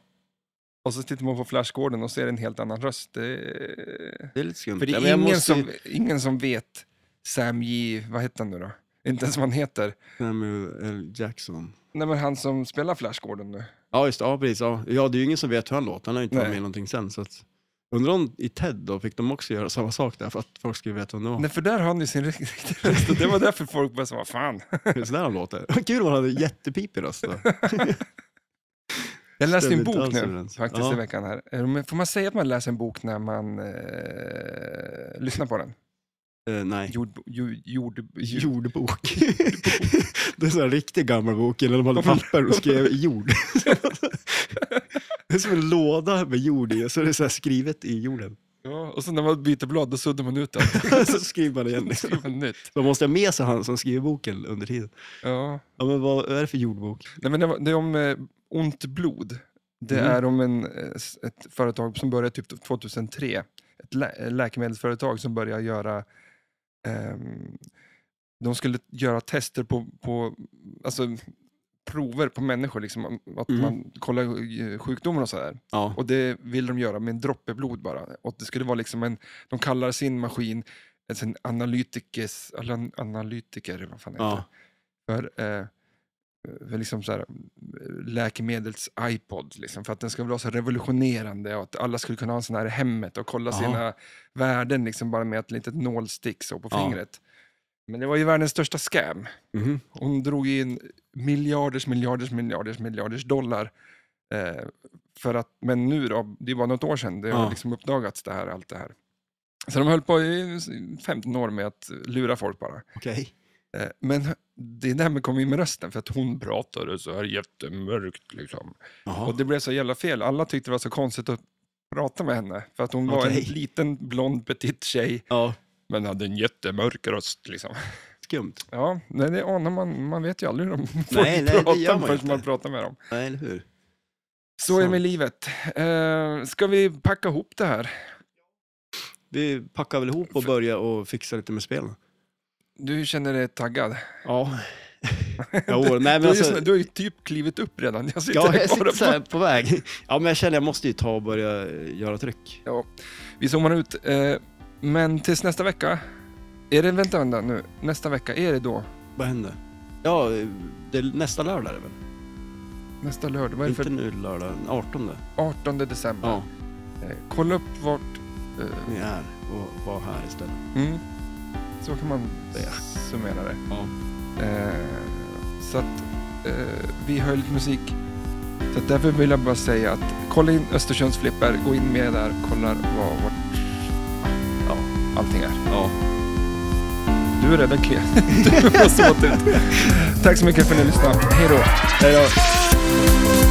[SPEAKER 1] Och så tittar man på Flash Gordon och ser en helt annan röst. Det...
[SPEAKER 2] det är lite skumt.
[SPEAKER 1] För det
[SPEAKER 2] Mm. Ja,
[SPEAKER 1] är
[SPEAKER 2] men jag
[SPEAKER 1] ingen,
[SPEAKER 2] måste ju-
[SPEAKER 1] som, ingen som vet Sam G, vad heter han nu då? Inte ens vad han heter.
[SPEAKER 2] Samuel L. Jackson.
[SPEAKER 1] Nej men han som spelar Flash Gordon nu.
[SPEAKER 2] Ja, just det. Ja, precis. Ja. ja, det är ju ingen som vet hur han låter. Han har ju inte varit
[SPEAKER 1] Nej.
[SPEAKER 2] med i någonting sen. Så att... Undrar om i TED då, fick de också göra samma sak där för att folk skulle veta vem det var?
[SPEAKER 1] Nej för där har han ju sin rikt- riktiga röst och det var därför folk började säga, vad fan.
[SPEAKER 2] Hur sådär han låter. Vad Kul om han hade jättepipig röst då.
[SPEAKER 1] Jag läste en
[SPEAKER 2] Stämde inte
[SPEAKER 1] bok
[SPEAKER 2] alls
[SPEAKER 1] nu
[SPEAKER 2] överens.
[SPEAKER 1] faktiskt
[SPEAKER 2] Ja.
[SPEAKER 1] i veckan här. Eh, men Får man säga att man läser en bok när man eh, lyssnar på den?
[SPEAKER 2] Eh, nej.
[SPEAKER 1] Jord, jord, jord, jord.
[SPEAKER 2] Jordbok. det är en sån här riktig gammal bok. Eller de hade papper och skrev jord. det är som en låda med jord i. och Så är det så här skrivet i jorden.
[SPEAKER 1] Ja, och så när man byter blad då suddar man ut allt.
[SPEAKER 2] så skriver man igen.
[SPEAKER 1] Då skriver man nytt.
[SPEAKER 2] Då måste jag ha med sig han som skriver boken under tiden.
[SPEAKER 1] Ja.
[SPEAKER 2] Ja, men vad är det för jordbok?
[SPEAKER 1] Nej, men det, var, det är om eh, ont blod. Det
[SPEAKER 2] Mm.
[SPEAKER 1] är om en, eh, s- ett företag som började typ 2003. Ett lä eh, läkemedelsföretag som började göra... ehm, de skulle göra tester på, på alltså, prover på människor. Liksom, att
[SPEAKER 2] Mm.
[SPEAKER 1] man kollar eh, sjukdomar och sådär.
[SPEAKER 2] Ja.
[SPEAKER 1] Och det vill de göra med en droppe blod bara. Och det skulle vara liksom en, de kallar sin maskin alltså en analytikers, eller en analytiker, vad fan heter det?
[SPEAKER 2] ja.
[SPEAKER 1] för, eh, för liksom så här, eh, läkemedels iPod. Liksom, för att den ska vara så revolutionerande och att alla skulle kunna ha en sån här i hemmet och kolla
[SPEAKER 2] Ja.
[SPEAKER 1] sina värden liksom, bara med ett litet nålstick så på
[SPEAKER 2] Ja.
[SPEAKER 1] fingret. Men det var ju världens största scam.
[SPEAKER 2] Mhm.
[SPEAKER 1] Hon drog in miljarders, miljarders, miljarders, miljarders dollar. Eh, för att, men nu då, det var något år sedan, det har
[SPEAKER 2] Ja.
[SPEAKER 1] liksom uppdagats det här, allt det här. Så de höll på i 15 år med att lura folk bara.
[SPEAKER 2] Okej.
[SPEAKER 1] Eh, Men det där med kom in med rösten, för att hon pratade så här jättemörkt. Liksom. Och
[SPEAKER 2] Jaha.
[SPEAKER 1] det blev så jävla fel. Alla tyckte det var så konstigt att prata med henne. För att hon var
[SPEAKER 2] Okej.
[SPEAKER 1] en liten blond petit tjej,
[SPEAKER 2] Ja,
[SPEAKER 1] men hade en jättemörk röst. Liksom.
[SPEAKER 2] skumt.
[SPEAKER 1] Ja, nej, det anar man. Man vet ju aldrig hur de får
[SPEAKER 2] Nej, nej, det
[SPEAKER 1] prata
[SPEAKER 2] gör man
[SPEAKER 1] förrän
[SPEAKER 2] inte.
[SPEAKER 1] man pratar med dem.
[SPEAKER 2] Nej, eller hur?
[SPEAKER 1] Så är det
[SPEAKER 2] Sant.
[SPEAKER 1] med livet. Eh, ska vi packa ihop det här?
[SPEAKER 2] Vi packar väl ihop och börjar och fixar lite med spelen.
[SPEAKER 1] Du känner dig taggad?
[SPEAKER 2] Ja. Jo, nej,
[SPEAKER 1] Du
[SPEAKER 2] men
[SPEAKER 1] har, ju,
[SPEAKER 2] alltså,
[SPEAKER 1] sån- du har ju typ klivit upp redan. Jag sitter
[SPEAKER 2] ja,
[SPEAKER 1] här bara
[SPEAKER 2] jag sitter
[SPEAKER 1] på-
[SPEAKER 2] så här på väg. Ja, men jag känner jag måste ju ta och börja eh, göra tryck.
[SPEAKER 1] Ja, vi zoomar ut. Eh, Men tills nästa vecka. Är det, vänta, vänta nu. Nästa vecka, är det då?
[SPEAKER 2] Vad händer? Ja, eh, det är nästa lördag är det väl?
[SPEAKER 1] Nästa lördag? Vad är det
[SPEAKER 2] Inte
[SPEAKER 1] för
[SPEAKER 2] nu lördag, den 18.
[SPEAKER 1] 18 december?
[SPEAKER 2] Ja,
[SPEAKER 1] Eh, Kolla upp vart... eh,
[SPEAKER 2] ni är här och var här istället.
[SPEAKER 1] Mm. Så kan man
[SPEAKER 2] Ja.
[SPEAKER 1] summera det.
[SPEAKER 2] Ja.
[SPEAKER 1] Eh, så att eh, vi hör lite musik. Så att därför vill jag bara säga att kolla in Östersunds flipper, gå in med där, kollar vad vart ja, allting är.
[SPEAKER 2] Ja.
[SPEAKER 1] Du är redan klen. Du har sålt ut. Tack så mycket för att ni lyssnade. Hej då. Hej då.